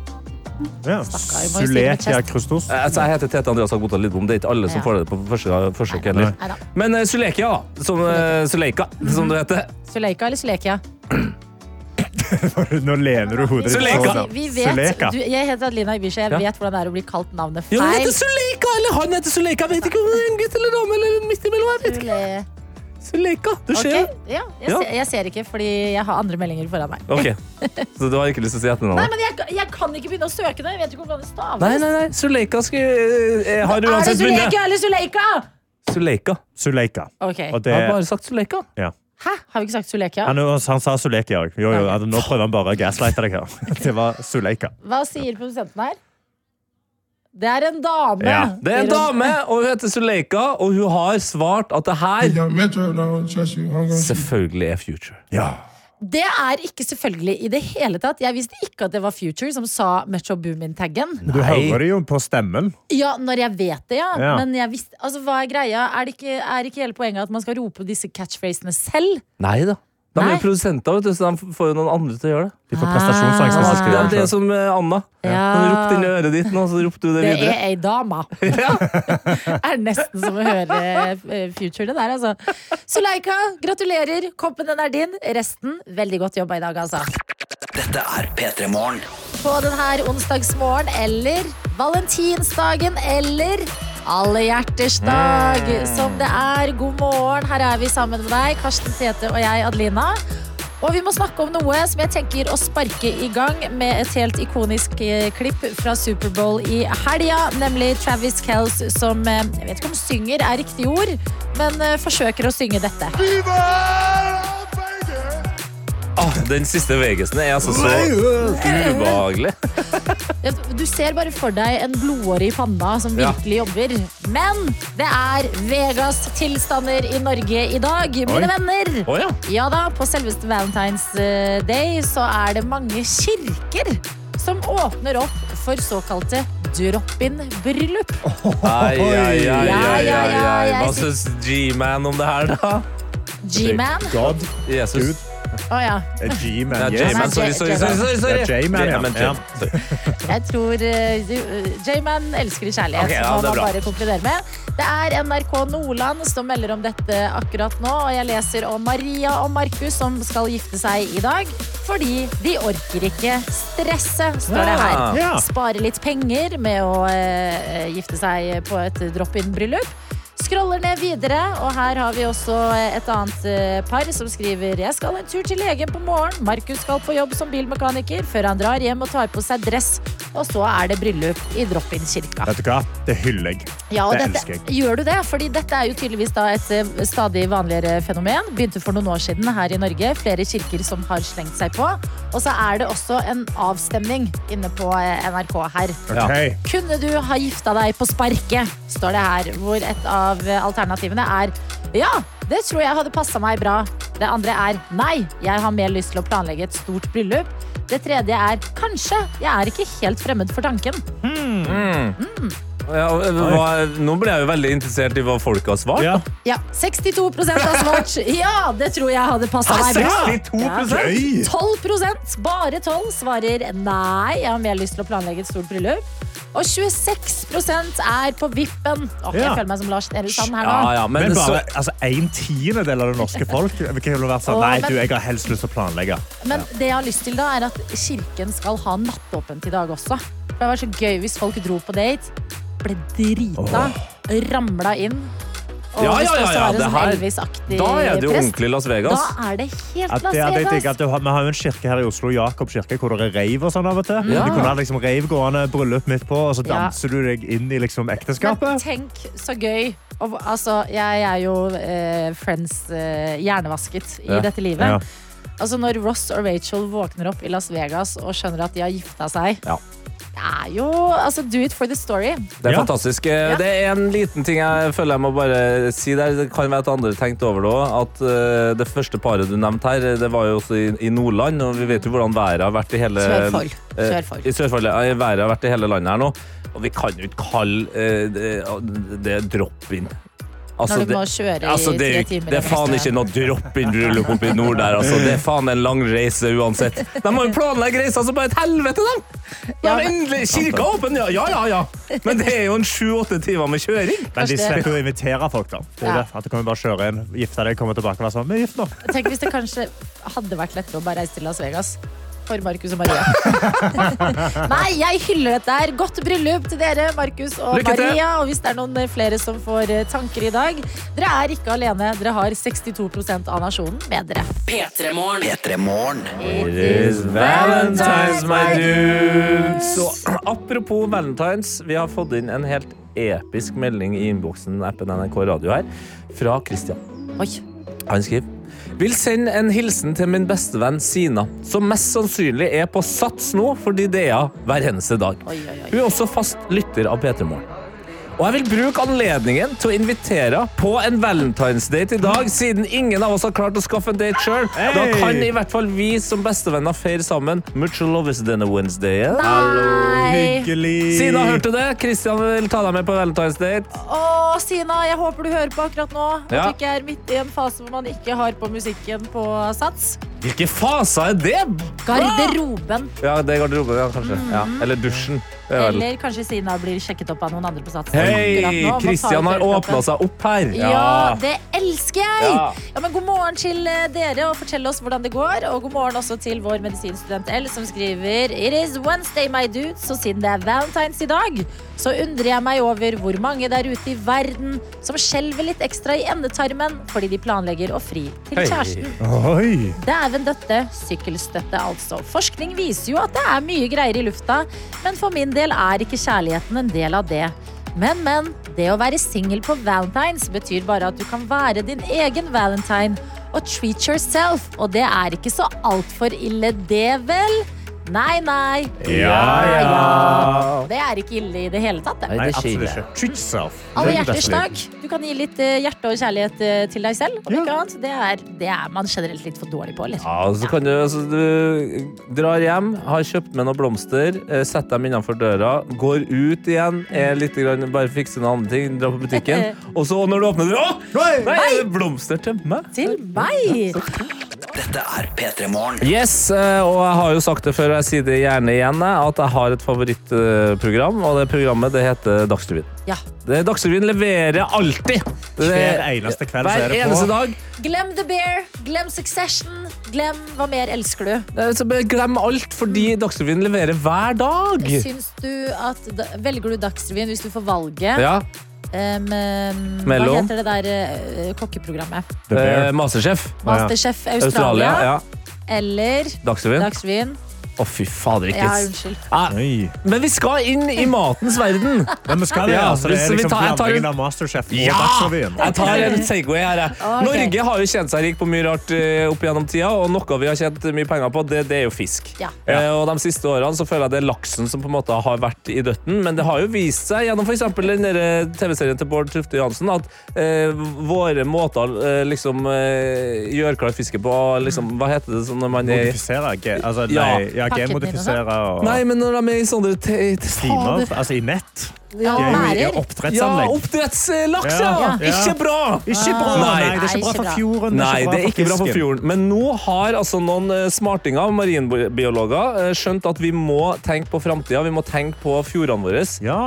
S5: ja,
S3: jeg må jo si det med
S5: Sulekia
S3: chest.
S5: Krustos.
S4: Eh, Altså, jeg heter Tete Andreas Agbota Lidbom. Det er ikke alle som
S3: Ja.
S4: får det på første forsøk. heller.
S3: Nei da.
S4: Men eh, Sulekia, da. Som, eh, Suleika, som du heter.
S3: Suleika eller Sulekia?
S5: Nå lener du hodet ditt.
S4: Suleika.
S5: sånn.
S3: Vi vet,
S5: Suleika.
S3: du, jeg heter Adelina Ibishi. Jeg
S4: Ja.
S3: vet hvordan det er å bli kalt navnet
S4: Jo, hun
S3: feil.
S4: heter Suleika, eller han heter Suleika. Jeg vet ikke om det er en gutt eller dame eller midt imellom. Jeg vet ikke.
S3: Sule-
S4: Suleika, du
S3: Ok,
S4: ser jo.
S3: ja, jeg,
S4: Ja.
S3: Ser, jeg ser ikke, fordi jeg har andre meldinger foran meg.
S4: Ok, så du har ikke lyst til å si
S3: Nei,
S4: etternavnet?
S3: men jeg, jeg kan ikke begynne å søke det. Jeg vet ikke hvordan det staves.
S4: Nei, nei, nei. Suleika skal, eh, eh, har
S3: Er det
S4: uansett vunnet.
S3: Suleika eller Suleika?
S4: Suleika.
S5: Suleika.
S3: Ok,
S5: Og
S4: Jeg har
S5: det,
S4: bare sagt Suleika.
S5: ja.
S3: Hæ? Har vi ikke sagt Suleika?
S5: han, han sa Sulekia òg. Jo, jo, nå prøver han bare å gaslighte deg her. Det var Suleika.
S3: Hva sier produsenten her? Det er en dame.
S5: Ja,
S4: Det er en
S3: sier hun.
S4: dame, og hun heter Suleika, og hun har svart at det
S7: Hey,
S4: her
S7: yo, Metro, don't trust you. I'm gonna shoot you.
S4: selvfølgelig er Future.
S5: Ja.
S3: Det er ikke selvfølgelig i det hele tatt. Jeg visste ikke at det var Future som sa Metro Boomin-taggen.
S5: Du hører det jo på stemmen.
S3: Ja, når jeg vet det, ja.
S5: Ja.
S3: Men jeg visste, altså, hva er greia? Er, det ikke, er ikke hele poenget at man skal rope disse catchphrasene selv?
S4: Nei da. De er
S3: Nei.
S4: jo produsenter, vet du, så de får jo noen andre til å gjøre det.
S5: De får prestasjonsangst. hvis de
S4: Det
S5: skriver
S4: er, det er
S5: det selv.
S4: som eh, Anna.
S3: Ah. Ja.
S4: Han ropte inn i øret ditt nå, så ropte du det
S3: Det
S4: videre.
S3: er ei dame. er nesten som å høre eh, Future, det der, altså. Suleika, gratulerer. Koppen den er din. Resten, veldig godt jobba i dag, altså.
S1: Dette er P3 Morgen.
S3: På denne onsdagsmorgen eller valentinsdagen eller alle hjerters dag, som det er. God morgen, her er vi sammen med deg, Karsten Tete og jeg, Adelina. Og vi må snakke om noe som jeg tenker å sparke i gang med et helt ikonisk eh, klipp fra Superbowl i helga, nemlig Travis Kells som eh, Jeg vet ikke om synger er riktig ord, men eh, forsøker å synge dette.
S4: Ah, den siste Vegasen er altså så ubehagelig.
S3: Ja, Du ser bare for deg en blodåre i panna som
S4: Ja.
S3: virkelig jobber. Men det er Vegas-tilstander i Norge i dag, mine venner.
S4: Å ja.
S3: Ja da, på selveste Valentine's eh, Day så er det mange kirker som åpner opp for såkalte drop-in-bryllup.
S4: Ai, ai, ai,
S3: Ja,
S4: ai,
S3: ja,
S4: ai,
S3: ja,
S4: ai.
S3: jeg
S4: Hva
S3: sy-
S4: syns G-man om det her, da?
S3: G-man.
S5: God, Gud.
S4: Jesus.
S3: Å ja.
S5: det er G-man.
S4: Ja,
S5: yes.
S4: J-man, sorry, sorry, sorry, sorry,
S5: Det er
S4: sorry.
S5: J-man, ja.
S4: J-man,
S5: ja.
S4: J-man.
S3: Jeg tror eh, du- J-Man elsker kjærlighet.
S4: Ok, ja,
S3: så må
S4: det er
S3: man
S4: bra.
S3: bare konkludere med. Det er NRK Nordland som melder om dette akkurat nå. Og jeg leser om Maria og Markus som skal gifte seg i dag. Fordi de orker ikke stresset, står det her.
S4: Ja.
S5: Ja.
S3: Spare litt penger med å eh, gifte seg på et drop-in-bryllup. Scroller ned videre, og her har vi også et annet eh, par som skriver Jeg skal en tur til legen på morgen. Markus skal på jobb som bilmekaniker før han drar hjem og tar på seg dress. Og så er det bryllup i drop-in-kirka.
S5: Vet du hva? Det hyller jeg.
S3: Ja, og
S5: det
S3: dette,
S5: elsker
S3: gjør du det? Fordi dette er jo tydeligvis da et eh, stadig vanligere fenomen. Begynte for noen år siden her i Norge. Flere kirker som har slengt seg på. Og så er det også en avstemning inne på eh, NRK her.
S5: Ok.
S3: Kunne du ha gifta deg på sparket, står det her, hvor et av alternativene er ja, det tror jeg hadde passa meg bra. Det andre er nei, jeg har mer lyst til å planlegge et stort bryllup. Det tredje er kanskje, jeg er ikke helt fremmed for tanken.
S4: Ja, hva, nå ble jeg jo veldig interessert i hva folk har svart.
S5: Ja.
S3: Ja, 62 har svart ja, det tror jeg hadde passa meg bra.
S4: 62%?
S5: Gøy!
S3: 12 bare 12, svarer nei, jeg har mer lyst til å planlegge et stort bryllup. Og 26 er på vippen. Åh, jeg
S5: Ja.
S3: føler meg som Lars Nehru Sand her nå.
S4: Ja, ja, men,
S5: Men bare
S4: så,
S5: altså, en tiendedel av det norske folk ville vært
S3: Å,
S5: sånn Nei,
S3: men-
S5: du, jeg har helst lyst til å planlegge.
S3: Men det jeg har lyst til da, er at kirken skal ha nattåpent i dag også. For det var så gøy hvis folk dro på date, ble drita, ramla inn. Og
S4: Ja, ja, ja, ja,
S3: hvis det
S4: det
S3: også
S4: her-
S3: er en sånn Elvis-aktig
S4: da er det jo
S3: prest,
S4: ordentlig Las
S3: Da
S4: Vegas.
S3: er det helt
S5: At
S3: Las
S5: det, at jeg tenker
S3: Vegas.
S5: at du har, vi har jo en kirke her i Oslo, Jakob kirke, hvor det er reiv og sånn av og til.
S4: Ja.
S5: De kunne ha liksom reiv gående, bryllup midt på, og så
S3: Ja.
S5: danser du deg inn i liksom
S3: Men
S5: ekteskapet.
S3: tenk så gøy. Og, altså, jeg er jo eh, Friends eh, hjernevasket i
S4: Ja.
S3: dette livet.
S5: Ja.
S3: Altså Når Ross og Rachel våkner opp i Las Vegas og skjønner at de har gifta seg
S4: Ja.
S3: Det er jo altså, Do it for the story.
S4: Det er
S5: Ja.
S4: fantastisk. Eh, Det er en liten ting jeg føler jeg må bare si der. Det kan være at andre tenkte over det òg. At eh, det første paret du nevnte her, det var jo også i, i Nordland. Og vi vet jo hvordan været har vært i hele
S3: Sørfold.
S4: eh,
S3: Sørfold.
S4: I Sørfold, ja, været har vært i hele landet her nå. Og vi kan jo ikke kalle eh, det, det drop-in. Altså,
S3: Når du
S4: det-
S3: må kjøre i
S4: Altså, det, er
S3: tre
S4: jo ikke-
S3: timer.
S4: det er faen ikke noe drop-in-bryllup oppe i nord der. Altså. Det er faen en lang reise uansett. De må jo planlegge reisa som bare et helvete, dem! De
S3: Ja,
S4: har
S3: men-
S4: endelig kirka er åpen, ja, ja, ja, ja. Men det er jo en sju-åtte timer med kjøring.
S5: Men de
S3: Kanskje det-
S5: slipper jo å invitere folk, da. Det er
S3: Ja.
S5: det. At du kan jo bare kjøre inn, gifte deg, komme tilbake og være sånn Vi er gift nå.
S3: Tenk hvis det kanskje hadde vært lettere å bare reise til Las Vegas. For Markus og Maria. Nei, jeg hyller dette her. Godt bryllup til dere, Markus og
S4: Lykke til.
S3: Maria. Og hvis det er noen flere som får eh, tanker i dag, dere er ikke alene. Dere har 62 av nasjonen med dere.
S2: P3 Morgen.
S1: P3 Morgen.
S4: It is
S3: Valentine's, my
S4: dudes. Så apropos Valentine's, vi har fått inn en helt episk melding i innboksen appen NRK Radio her, fra Christian.
S3: Oi.
S4: Han skriver Vil sende en hilsen til min bestevenn Sina, som mest sannsynlig er på Sats nå fordi det er hver eneste dag.
S3: Oi, oi, oi.
S4: Hun er også fast lytter av P3 Morgen. Og jeg vil bruke anledningen til å invitere på en valentinsdate i dag, siden ingen av oss har klart å skaffe en date sjøl. Da
S5: Hey!
S4: kan i hvert fall vi som bestevenner feire sammen. Much love is denne Wednesday.
S3: Nei.
S5: Hyggelig.
S4: Sina hørte det. Kristian vil ta deg med på valentinsdate.
S3: Å, Sina, jeg håper du hører på akkurat nå. At
S4: Ja.
S3: du ikke er midt i en fase hvor man ikke har på musikken på sats.
S4: Hvilke faser er det?
S3: Garderoben.
S4: Ja, det er garderoben, ja, kanskje.
S3: Mm.
S4: Ja. Eller dusjen. Det er vel-
S3: Eller kanskje Sina blir sjekket opp av noen andre på sats. akkurat
S4: Hei!
S3: nå. Man tar
S4: Kristian
S3: ut
S4: har
S3: øreproppen.
S4: åpna seg opp her.
S3: Ja, det elsker jeg!
S4: Ja.
S3: Ja. men god morgen til eh, dere, og fortell oss hvordan det går. Og god morgen også til vår medisinstudent L, som skriver It is Wednesday, my dude, så siden det er valentines i dag, så undrer jeg meg over hvor mange der ute i verden som skjelver litt ekstra i endetarmen fordi de planlegger å fri til
S4: Hei.
S3: kjæresten.
S5: Oi.
S3: Dæven døtte, sykkelstøtte altså. Forskning viser jo at det er mye greier i lufta, men for min del er ikke kjærligheten en del av det. Men, men, det å være singel på valentines betyr bare at du kan være din egen valentine og treat yourself, og det er ikke så altfor ille det, vel? Nei, nei.
S5: Ja, ja.
S3: Det er ikke ille i det hele tatt, det.
S5: Nei, absolutt ikke. Treat yourself.
S3: Alle
S5: Det er
S3: hjerters
S5: best liv.
S3: dag. Du kan gi litt eh, hjerte og kjærlighet eh, til deg selv. Om
S5: Ja.
S3: ikke annet. Det er, det er man generelt litt for dårlig på, eller?
S4: Ja, og så kan du, altså, du drar hjem, har kjøpt med noen blomster, eh, setter dem innenfor døra, går ut igjen, er litt grann, bare fikser noen andre ting, drar på butikken, og så når du åpner døra Å!
S5: Nei!
S4: Nei, er det blomster til meg!
S3: Til meg!
S1: Dette er P3 Morgen.
S4: Yes, eh, og jeg har jo sagt det før, og jeg sier det gjerne igjen, jeg, at jeg har et favorittprogram, og det programmet det heter Dagsrevyen.
S3: Ja.
S4: Det Dagsrevyen leverer alltid! Det-
S5: Hver eneste kveld så er
S4: Hver
S5: det på.
S4: eneste dag.
S3: Glem The Bear, glem Succession, glem Hva mer elsker du?
S4: Eh, Så bare glem alt, fordi Dagsrevyen leverer hver dag.
S3: Syns du at, da- velger du Dagsrevyen hvis du får valget?
S4: Ja,
S3: Em, em,
S4: Mellom?
S3: Hva heter det der eh, kokkeprogrammet?
S5: The Bear.
S4: eh, Masterchef.
S3: Masterchef Australia,
S4: Australia, ja.
S3: eller
S4: Dagsrevyen.
S3: Dagsrevyen?
S4: Å, fy fader, ikke
S3: Ja,
S4: s-
S3: unnskyld.
S4: Ah,
S5: Oi.
S4: Men vi skal inn i matens verden.
S5: Men vi skal det,
S4: Ja,
S5: altså. Det
S4: hvis
S5: er
S4: vi
S5: liksom
S4: tar- jeg tar
S5: blandingen
S4: en-
S5: av Masterchef og Dagsrevyen.
S4: Jeg tar en Segway her. jeg.
S3: Ah, Ok.
S4: Norge har jo tjent seg rik på mye rart eh, opp gjennom tida, og noe vi har tjent mye penger på, det, det er jo fisk.
S3: Ja.
S4: Eh, og De siste årene så føler jeg det er laksen som på en måte har vært i døtten, men det har jo vist seg gjennom f.eks. den der eh, TV-serien til Bård Tufte Johansen at eh, våre måter eh, liksom eh, gjør klar fisken på liksom, Hva heter det sånn når man er
S5: Modifisere? ge- Altså,
S4: Ja.
S5: nei, ja,
S3: Pakken
S4: sånn.
S5: genmodifisere og
S4: Nei, men når de er i sånne te- te-
S5: timer. Altså i nett.
S3: Ja,
S5: De er jo i
S3: Mærer.
S4: Ja,
S5: oppdrettsanlegg.
S4: oppdrettslaks, ja.
S5: Ja. Ja.
S4: Ikke bra!
S5: Ikke bra!
S4: Nei.
S5: Nei,
S3: Nei,
S5: det er ikke bra
S3: ikke
S5: for
S3: bra.
S5: fjorden.
S4: Nei, det er ikke bra for
S5: fisken.
S4: fjorden. Men nå har altså noen eh, smartinger, marinbiologer, eh, skjønt at vi må tenke på framtida. Vi må tenke på fjordene våre.
S5: Ja.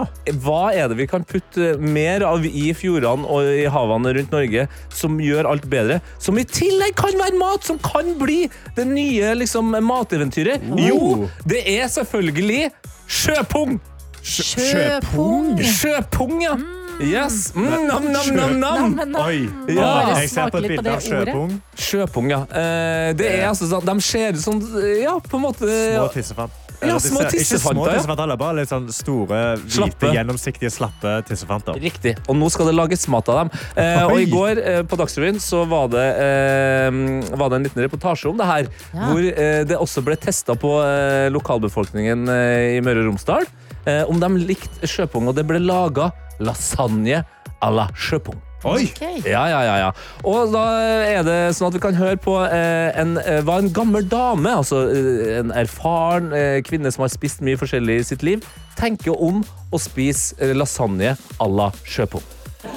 S4: Hva er det vi kan putte mer av i fjordene og i havene rundt Norge som gjør alt bedre? Som i tillegg kan være mat, som kan bli det nye liksom, mateventyret. Jo, det er selvfølgelig sjøpung! Mm.
S3: Sjøpung.
S4: Sjøpung, ja. Yes. Mm, nam, nam, nam, nam.
S3: Men nå-
S5: Oi.
S4: Ja.
S5: Oi, Jeg ser
S3: Smaker
S5: på et
S3: litt på
S5: bilde av
S3: det ordet.
S5: sjøpung.
S4: Sjøpung, ja. Eh, det er altså sånn, De ser ut som eh, Ja, på en måte
S5: Små tissefant.
S4: Ja, små
S5: Ikke små
S4: tissefanter, ja.
S5: tissefanter, bare litt sånn store, hvite,
S4: Slappe.
S5: gjennomsiktige, slappe tissefanter.
S4: Riktig. Og nå skal det lages mat av dem. Eh, og
S5: Oi.
S4: i går eh, på Dagsrevyen så var det, eh, var det en liten reportasje om det her.
S3: Ja.
S4: Hvor eh, det også ble testa på eh, lokalbefolkningen eh, i Møre og Romsdal eh, om de likte sjøpung. Og det ble laga lasagne à la sjøpung.
S5: Oi!
S3: Ok.
S4: Ja, ja, ja, ja. Og da er det sånn at vi kan høre på eh, en, eh, hva en gammel dame, altså eh, en erfaren eh, kvinne som har spist mye forskjellig i sitt liv, tenker om å spise eh, lasagne à la sjøpung.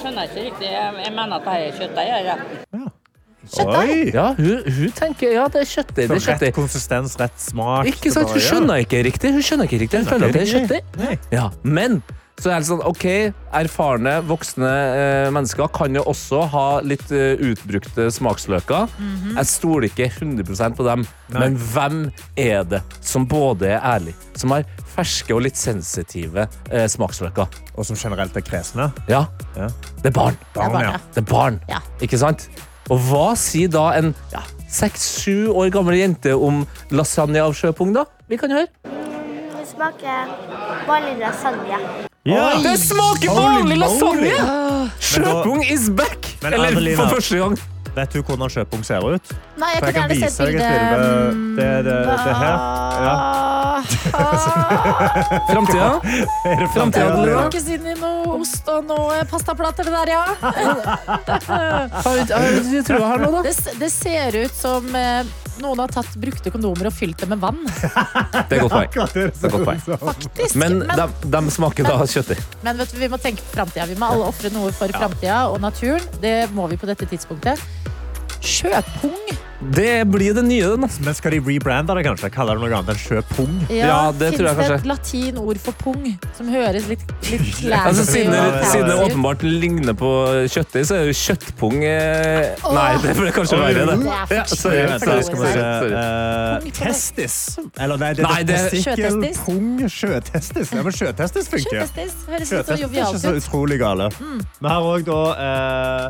S9: skjønner ikke riktig. Jeg, jeg mener at dette er kjøttdeig. jeg, ja.
S5: Oi. Sånn
S4: Ja, hun, hun tenker ja, det er kjøttdeig. Det er
S5: Rett
S4: kjøttdeig.
S5: konsistens, rett smak.
S4: Ikke sant? Hun skjønner ikke riktig. Hun skjønner ikke riktig. Hun føler at det er kjøttdeig. Ja, men så er det sånn, ok, erfarne, voksne eh, mennesker kan jo også ha litt eh, utbrukte smaksløker. Jeg stoler ikke 100 på dem, men hvem er det som både er ærlig, som har ferske og litt sensitive eh, smaksløker?
S5: Og som generelt er kresne.
S4: Ja,
S5: Ja.
S4: det er barn.
S5: Barn,
S3: ja.
S5: ja.
S4: Det er barn,
S3: Ja.
S4: ikke sant? Og hva sier da en ja, 6-7 år gammel jente om lasagne av sjøpung, da? Vi kan høre.
S10: Det smaker vanlig lasagne.
S5: Ja.
S4: Det smaker vanlig lasagne! Sjøpung is back!
S5: Men
S4: Eller
S5: Adelina-
S4: for første gang.
S5: Vet du hvordan sjøpung ser ut?
S3: Nei, jeg
S5: For jeg
S3: kunne
S5: kan
S3: gjerne
S5: vise
S3: sett
S5: deg et bilde.
S3: bildet. Mm. Ah,
S5: Det, det, det her. Ja.
S4: Framtida?
S5: Er det
S4: Framtida,
S5: Adelina?
S4: Adelina?
S3: Ikke siden i nå. noe ost og noe pastaplater, det der, ja.
S4: Har vi- har vi trua her nå, da?
S3: Det, s- det ser ut som eh, noen har tatt brukte kondomer og fylt dem med vann.
S4: Det er godt poeng.
S5: Akkurat det.
S4: Det er godt poeng.
S3: Faktisk.
S4: Men de, de smaker da kjøttdeig.
S3: Men vet du, vi må tenke på framtida. Vi må alle ofre noe for framtida og naturen. Det må vi på dette tidspunktet. Sjøpung.
S4: Det blir det nye, den. Altså.
S5: Men skal de rebrande det, kanskje? Kaller det noe annet enn sjøpung?
S4: Ja, det tror jeg
S3: Finnes det
S4: kanskje.
S3: et latin ord for pung som høres litt, litt
S4: Altså,
S3: classy
S4: siden,
S3: og
S4: det- siden det
S3: fancy ut?
S4: åpenbart ligner på kjøttdeig, så er jo kjøttpung eh, Nei, det blir kanskje
S5: Åh.
S4: verre, det.
S3: Det er for
S4: Ja, sorry,
S5: Jeg
S3: tidlig
S5: vet
S3: for det
S5: ikke, skal
S3: ordet.
S5: vi se.
S4: Sorry.
S5: eh, testis. Eller nei, det er
S4: Nei, det-
S5: testikkel,
S3: Sjøtestis.
S5: pung, sjøtestis. Ja, men sjøtestis funker.
S3: Sjøpestis høres litt sånn
S5: Sjøtestis er ikke
S3: jovialt
S5: så
S3: ut. Mm.
S5: utrolig gale. Vi har òg da eh,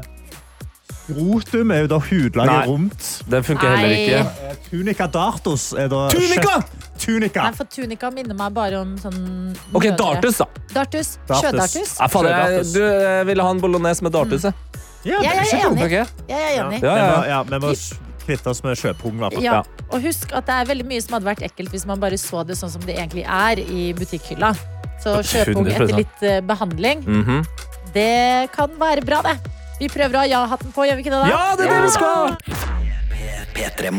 S5: Skrotum er jo da
S4: Nei.
S5: hudlaget rundt.
S4: Den funker heller ikke.
S5: Eh, Tunica dartus er da
S4: Tunica!
S5: kjøtt- Tunica!
S3: Nei, for tunika minner meg bare om sånn
S4: OK,
S3: mødre.
S4: dartus, da.
S3: Dartus.
S5: Dartus.
S3: Sjødartus.
S4: Ja, fader, jeg, du eh, ville ha en bolognese med dartus, jeg.
S5: Ja,
S3: Ja,
S5: det er
S3: jeg
S5: ikke
S3: er
S5: dumt.
S3: enig.
S4: Ok.
S3: Jeg er enig.
S4: Ja,
S5: Vi
S4: ja.
S5: må- ja, Vi må s- kvitte oss med sjøpung. i hvert fall.
S3: Ja. Og husk at det er veldig mye som hadde vært ekkelt hvis man bare så det sånn som det egentlig er i butikkhylla. Så kjøpung
S4: 100%.
S3: etter litt eh, behandling,
S4: Mhm.
S3: det kan være bra, det. Vi prøver å ha ja-hatten på, gjør vi ikke det? da?
S4: Ja, det er det vi skal!
S1: P3
S3: Hvor du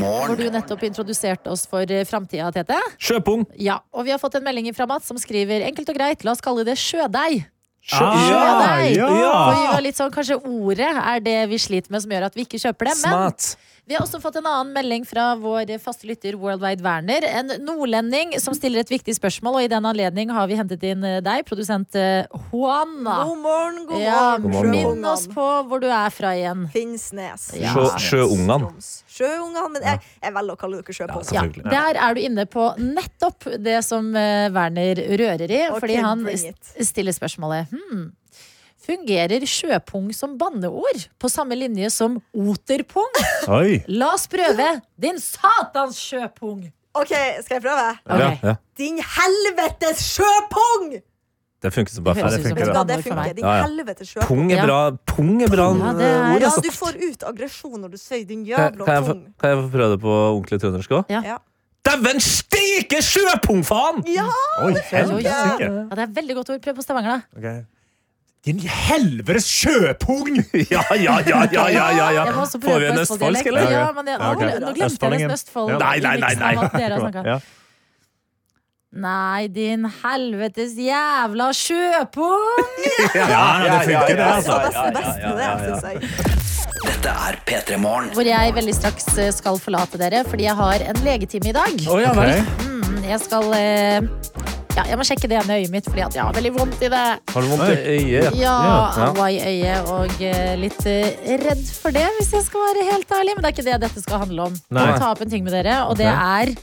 S1: Morgen.
S3: nettopp introduserte oss for eh, framtida, Tete.
S4: Sjøpung.
S3: Ja, og vi har fått en melding fra Mats som skriver enkelt og greit, la oss kalle det sjødeig.
S5: Ah,
S3: Sjødeig! For vi
S5: ja.
S3: var litt sånn, Kanskje ordet er det vi sliter med som gjør at vi ikke kjøper det. Men
S4: Smart.
S3: Vi har også fått en annen melding fra vår faste lytter Worldwide Werner. En nordlending som stiller et viktig spørsmål, og i den anledning har vi hentet inn eh, deg, produsent eh, Juana.
S2: God morgen, god
S3: Ja,
S2: morgen.
S4: morgen.
S3: Minn oss på hvor du er fra igjen.
S2: Finnsnes.
S3: Ja.
S4: Sjø- Sjøungene.
S2: Troms. Sjøungene, men jeg, jeg velger å kalle dere sjøpung.
S3: Ja, altså.
S4: Selvfølgelig.
S3: der er du inne på nettopp det som eh, Werner rører i,
S2: Ok,
S3: fordi han
S2: bring it.
S3: s- stiller spørsmålet hmm, Fungerer sjøpung som banneord på samme linje som oterpung?
S5: Oi.
S3: La oss prøve! Din satans sjøpung!
S2: OK, skal jeg prøve?
S4: Ja, ja.
S2: Din helvetes sjøpung!
S4: Det funker som bare
S3: Høres
S5: det
S4: faen.
S3: ut som et
S5: funker det.
S2: Ja, det
S3: banneord for meg.
S2: funker. Din
S4: Ja, ja.
S2: helvetes sjøpung.
S4: Pung er bra. Pung er bra
S3: Ja, det er-
S4: ord,
S2: Ja,
S4: altså.
S2: du får ut aggresjon når du sier din
S4: Kan,
S2: jævla
S4: kan, jeg få,
S2: pung.
S4: kan jeg få prøve det på ordentlig trøndersk òg?
S3: Ja.
S2: Ja.
S4: Dæven steike sjøpung, faen!
S2: Ja!
S3: Oi,
S5: Oi,
S3: ja.
S5: helsike.
S3: ja, det er veldig godt ord. Prøv på Stavanger, da.
S5: Ok. Din helvetes sjøpung!
S4: Ja, ja, ja, ja, ja, ja, ja.
S3: Jeg må også prøve
S4: Får vi en
S3: på
S4: østfoldsk,
S3: Østfold-dialekt.
S4: eller?
S3: Ja, men jeg,
S5: Ja, ok.
S3: nå- Nå glemte jeg nesten
S5: Østfoldingen.
S3: Østfold.
S5: Ja.
S4: Nei, nei, nei, nei.
S3: i miksen av at Dere har snakket.
S5: Ja.
S3: Nei, din helvetes jævla sjøpung!
S5: Ja, det funker, det, altså.
S2: Det var nesten best med det, synes jeg.
S1: Dette er P3 Morgen.
S3: Hvor jeg veldig straks eh, skal forlate dere, fordi jeg har en legetime i dag.
S4: Å, ja, vel.
S3: Mm, Jeg skal eh, ja, jeg må sjekke det ene øyet mitt, fordi at jeg har veldig vondt i det.
S4: Har du vondt i øyet?
S3: Ja,
S4: Ja.
S3: Aua i øyet, og eh, litt eh, redd for det, hvis jeg skal være helt ærlig. Men det er ikke det dette skal handle om. Jeg
S5: Nei.
S3: må ta opp en ting med dere, og det er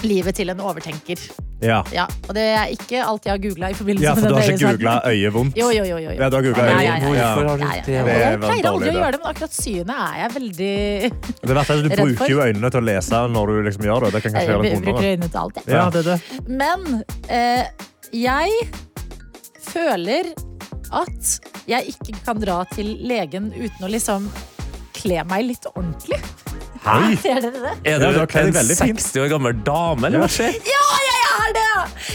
S3: livet til en overtenker.
S5: Ja.
S3: Ja, og det er ikke alt jeg har googla i forbindelse
S5: ja, for
S3: med
S5: du
S3: den
S5: har ikke
S3: øyesaken.
S5: googla øyevondt?
S3: Sånn Jo, jo, jo. jo, jo.
S5: Ja, du har googlet
S3: Ja,
S5: øyet.
S3: ja, ja, ja.
S4: Hvorfor har du
S3: Ja, ja.
S4: det?
S3: Jeg
S5: Det er en
S3: pleier
S5: dårlig
S3: aldri å
S5: idé.
S3: gjøre det, men akkurat synet er jeg veldig
S5: Det verste er at du
S3: Redd for.
S5: bruker jo øynene til å lese når du liksom gjør det. Det kan kanskje
S3: Jeg
S5: gjøre det
S3: bruker
S5: vondere.
S3: øynene til alt, jeg.
S5: Ja, det er det.
S3: Men eh, jeg føler at jeg ikke kan dra til legen uten å liksom kle meg litt ordentlig.
S5: Oi.
S3: Ser dere det?
S4: Er
S5: Ja, da
S4: det
S5: kler
S4: en
S5: de veldig fint.
S4: 60 år gammel dame, eller hva skjer?
S3: Ja, jeg er det!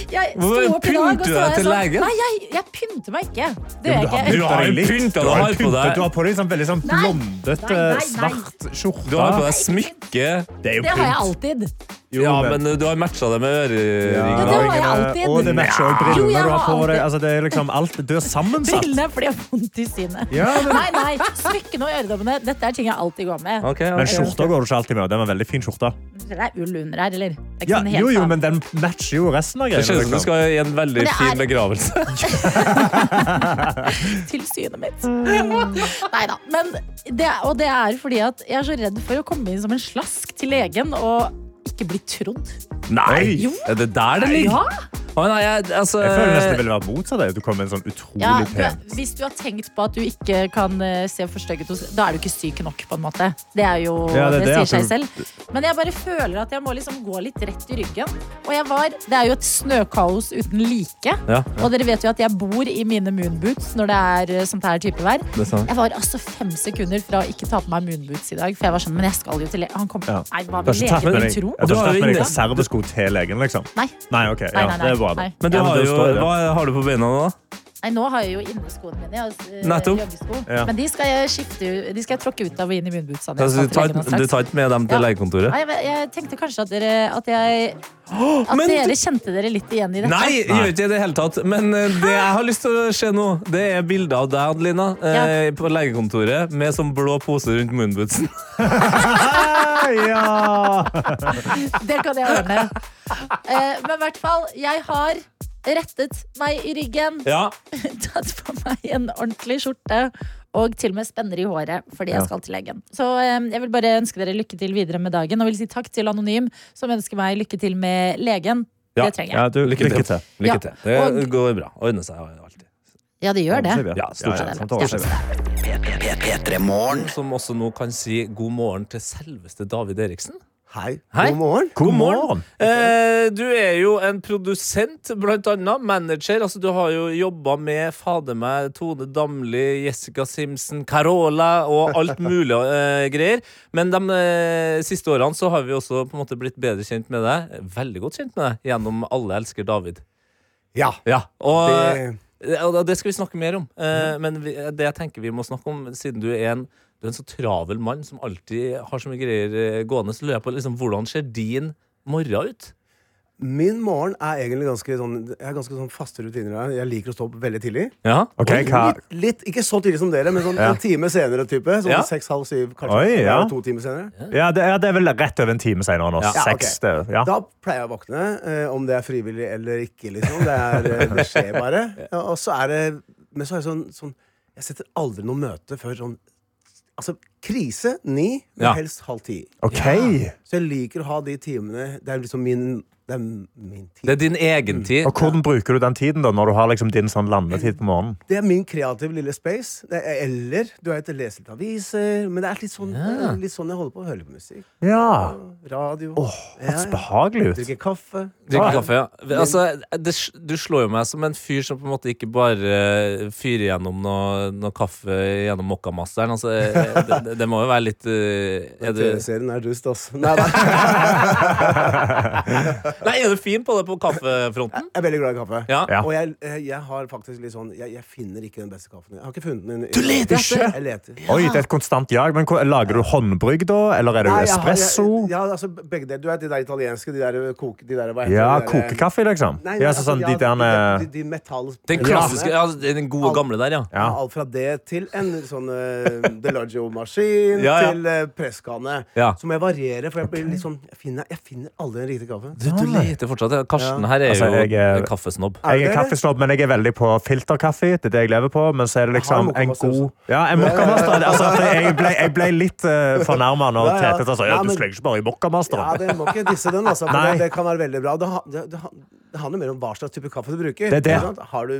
S3: Jeg sto
S4: Hvor
S3: opp i dag, og
S4: pynter
S3: så
S4: du deg
S3: var jeg
S4: til
S3: sånn
S4: legen?
S3: Nei, jeg, jeg pynter meg ikke. Det
S5: Jo,
S3: gjør
S5: men
S3: jeg ikke.
S4: Du har jo
S5: deg litt.
S4: pynta,
S5: Du
S4: du
S5: har
S4: har på
S5: pynta,
S4: deg-
S5: Du har på deg sånn veldig sånn
S3: Nei.
S5: blondet,
S3: Nei, nei,
S5: eh,
S3: nei.
S5: svart skjorte.
S4: Du har på deg smykke.
S5: Det er jo
S3: Det har jeg
S5: pynt.
S3: alltid.
S5: Jo,
S4: Ja,
S5: men-
S4: men du har matcha det med
S3: Ja,
S4: øreringen.
S3: det har jeg alltid.
S5: Og det matcher også
S3: Jo, jeg
S5: brillene du
S3: har
S5: har på deg.
S3: alltid.
S5: Altså, det er liksom alt. Du er sammensatt.
S3: Brillene fordi jeg har vondt i synet.
S5: Ja, men,
S3: Nei, nei, smykkene og øredobbene. Dette er ting jeg alltid går med.
S4: Ok,
S5: men
S4: ok.
S5: skjorta går du ikke alltid med. og Det var en veldig fin skjorte.
S3: Det er ull under her, eller? Det er ikke
S5: Ja,
S3: sånn helt
S5: jo, jo,
S3: av.
S5: men den matcher jo resten av
S4: Det ser ut
S5: greiene.
S4: som du
S5: Liksom.
S4: skal i en veldig
S3: Men det
S4: fin
S3: er-
S4: begravelse.
S3: til synet mitt. Nei da. Men det, og det er fordi at jeg er så redd for å komme inn som en slask til legen og ikke bli trodd.
S4: Nei! Er det der det ligger? Å, nei, jeg, altså,
S5: Jeg føler nesten det ville være motsatt. det. Du kom med en sånn
S3: Ja,
S5: utrolig
S3: du,
S5: pen.
S3: hvis du har tenkt på at du ikke kan eh, se forstygget hos Da er du ikke syk nok, på en måte. Det er jo
S5: Ja,
S3: det,
S5: det er det, altså.
S3: sier seg
S5: at
S3: selv. Men jeg bare føler at jeg må liksom gå litt rett i ryggen. Og jeg var Det er jo et snøkaos uten like.
S4: Ja,
S3: Og dere vet jo at jeg bor i mine moonboots når det er eh, sånt her type vær.
S4: det sa han.
S3: Jeg var altså fem sekunder fra å ikke ta på meg moonboots i dag. For jeg var sånn, men jeg skal jo til le Han kom,
S5: Ja.
S3: Nei, hva
S5: Du har
S3: vil
S5: ikke tatt med
S3: legen min
S5: deg,
S3: tro?
S5: ja, du har ikke tatt med deg
S4: Ja.
S5: servesko til legen, liksom?
S3: Nei.
S5: Nei, ok.
S3: Nei,
S5: Ja,
S3: nei, nei,
S5: det er bra, da.
S3: nei.
S4: Men du
S5: Ja,
S4: har
S5: det
S4: jo,
S5: står det.
S4: hva har du på beina nå?
S3: Nei, nå har jeg jo inneskoene mine. Jeg har, eh,
S4: Nettopp.
S3: joggesko.
S5: Ja.
S3: Men de skal jeg skifte ut- De skal jeg tråkke ut av og inn i munnbootsene.
S4: Altså, du,
S3: Jeg skal
S4: tar,
S3: til legen og
S4: du
S3: straks.
S4: tar ikke med dem til
S3: sånn Ja.
S4: legekontoret?
S3: Nei, jeg, jeg tenkte kanskje at dere At, jeg, at
S4: men
S3: dere
S4: du-
S3: kjente dere litt igjen i dette.
S4: Nei, jeg gjør ikke det i det hele tatt. Men eh, det jeg har lyst til å se nå, det er bilder av deg, Adelina, eh, på legekontoret med sånn blå pose rundt moonbootsen.
S5: Ah, ja.
S3: Det kan jeg ordne. Eh, men i hvert fall, jeg har rettet meg i ryggen,
S4: Ja.
S3: tatt på meg en ordentlig skjorte og til og med spenner i håret fordi
S4: Ja.
S3: jeg skal til legen. Så eh, jeg vil bare ønske dere lykke til videre med dagen og vil si takk til Anonym, som ønsker meg lykke til med legen.
S4: Ja.
S3: Det trenger jeg.
S5: ja du, lykke
S4: Lykke
S5: til.
S3: Ja,
S4: Lykke til. Det
S3: og-
S4: går bra. Ordner seg alltid.
S3: Ja, det gjør det.
S4: Ja, stort sett.
S5: Sånt overser vi.
S1: P3morgen.
S4: Som også nå kan si god morgen til selveste David Eriksen.
S11: Hei.
S4: Hei.
S11: God morgen.
S5: God morgen.
S4: Eh, du er jo en produsent, blant annet. Manager. Altså, du har jo jobba med fader meg Tone Damli, Jessica Simpson, Carola og alt mulig eh, greier. Men de eh, siste årene så har vi også på en måte blitt bedre kjent med deg. Veldig godt kjent med deg gjennom Alle elsker David.
S11: Ja.
S4: Ja, og
S11: Det-
S4: det, og det skal vi snakke mer om. Eh, Men vi, det jeg tenker vi må snakke om, siden du er en, du er en så travel mann som alltid har så mye greier eh, gående, så lurer jeg på liksom, hvordan ser din morgen ut?
S11: Min morgen er egentlig ganske sånn Jeg har ganske sånn faste rutiner. her. Jeg liker å stå opp veldig tidlig.
S4: Ja.
S5: Ok, hva?
S11: Litt, litt, ikke så tidlig som dere, men sånn
S5: Ja.
S11: en time senere type. Sånn
S4: Ja.
S11: seks, halv syv, kanskje.
S5: Oi, ja.
S11: To timer senere.
S5: Ja, det, ja, det er vel rett over en time senere nå.
S4: Ja,
S11: ok.
S5: Seks. Det, er- ja.
S11: Da pleier jeg å våkne, eh, om det er frivillig eller ikke. liksom Det, er, eh, det skjer bare. Ja, og så er det Men så er det sånn, sånn Jeg setter aldri noe møte før sånn Altså krise ni, men
S4: Ja.
S11: helst halv ti.
S5: Ok.
S11: Så jeg liker å ha de timene Det er liksom min, det er min tid.
S4: Det er din egen tid.
S5: Og hvordan bruker du den tiden da, når du har liksom din sånn landetid på morgenen?
S11: Det er min kreative lille space. Det er, eller du er ute og leser litt aviser. Men det er litt sånn, det er litt sånn jeg holder på å høre litt på musikk.
S5: Ja.
S11: Radio.
S5: Hørtes behagelig ut.
S11: Drikke kaffe.
S4: Drikke kaffe, ja. Altså, det, du slår jo meg som en fyr som på en måte ikke bare eh, fyrer gjennom noe, noe kaffe gjennom mokkamasteren. Altså, eh, det, det, det må jo være litt eh, er du,
S11: TV-serien er dust, ass. Nei, nei.
S4: Nei, er du fin på det på kaffefronten?
S11: Jeg er veldig glad i kaffe.
S4: Ja.
S5: Ja.
S11: Og jeg, eh, jeg har faktisk litt sånn jeg, jeg finner ikke den beste kaffen. Jeg har ikke funnet den.
S4: Du leter ikke?
S11: Jeg leter.
S5: Oi, det er et konstant jag. Men hva- lager du håndbrygg da, eller er det
S11: Nei, jeg har-
S5: espresso?
S11: jeg- Ja, altså begge deler. Du vet de der italienske, de der eh, koke... De der, hva heter
S5: Ja,
S11: de der-
S5: kokekaffe, liksom.
S11: Nei,
S5: Ja,
S11: men
S5: så
S11: altså,
S5: sånn
S11: ja,
S5: de der
S11: de, de, de metall-
S4: Den klassiske, ja, altså, den gode gamle der, ja.
S5: Ja.
S11: Alt fra det til en sånn uh, Delagio-maskin
S4: Ja, ja.
S11: til eh, presskanne.
S4: Ja.
S11: Så må jeg variere, for jeg, blir litt sånn, jeg, finner, jeg finner aldri den riktige kaffen.
S4: Du, du leter fortsatt. ja. Karsten her er
S5: Altså,
S4: jo
S5: jeg er-
S4: en kaffesnobb.
S11: Er
S5: Jeg er
S11: det det?
S5: kaffesnobb, men jeg er veldig på filterkaffe. Det er det jeg lever på. Men så er det
S11: Jeg har
S5: liksom
S11: en
S5: en
S11: mokkamaster
S5: god
S11: også.
S5: Ja, en mokkamaster. Altså, at jeg, ble, jeg ble litt uh, fornærma når
S11: Ja, ja.
S5: Tete sa sånn, ja,
S11: Nei,
S5: du
S11: men-
S5: slenger ikke bare i
S11: Ja,
S5: mokkamasteren.
S11: det må ikke disse den, altså. For
S5: Nei.
S11: det, det kan være veldig bra. Det, ha- det, det, ha- det handler mer om hva slags type kaffe du bruker.
S5: Det er det.
S11: ikke sant? Har du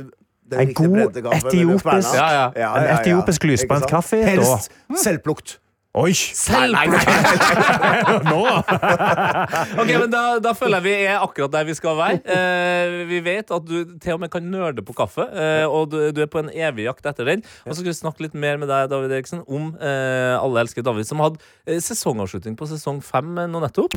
S11: den
S5: En
S11: riktige
S5: god
S11: breddekaffen, eller
S5: etiopisk-
S11: kverna?
S4: Ja, ja.
S5: En etiopisk
S11: Ikke
S5: lysbrent
S11: sant?
S5: kaffe, da-
S11: Helst selvplukt.
S5: Oi! Nå!
S4: Ok, men da, da føler jeg vi er akkurat der vi skal være. Eh, vi vet at du til og med kan nerde på kaffe, eh, og du, du er på en evig jakt etter den. Og så skal vi snakke litt mer med deg, David Eriksen, om eh, Alle elsker David, som hadde eh, sesongavslutning på sesong fem eh, nå nettopp.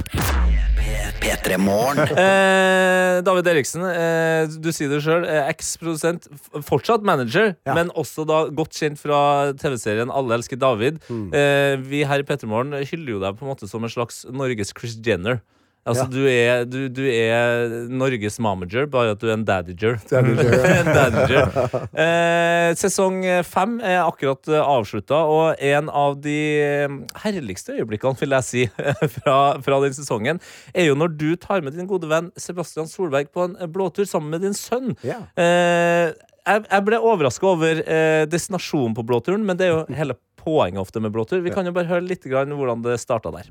S1: P3morgen.
S4: Eh, David Eriksen, eh, du sier det sjøl. Eh, Eks-produsent, f- fortsatt manager,
S11: Ja.
S4: men også da godt kjent fra TV-serien Alle elsker David.
S11: Hmm.
S4: Eh, vi her i Pettermorgen hyller jo deg på en måte som en slags Norges Chris Jenner. Altså,
S11: Ja.
S4: du, er, du, du er Norges momager, bare at du er en daddiger.
S11: Daddiger,
S4: En daddiger. Eh, sesong fem er akkurat avslutta, og en av de eh, herligste øyeblikkene, vil jeg si, fra, fra den sesongen, er jo når du tar med din gode venn Sebastian Solberg på en eh, blåtur sammen med din sønn.
S11: Ja.
S4: Eh, jeg, jeg ble overraska over eh, destinasjonen på blåturen, men det er jo hele poenget ofte med blåtur. Vi kan jo bare høre litt grann hvordan det starta der.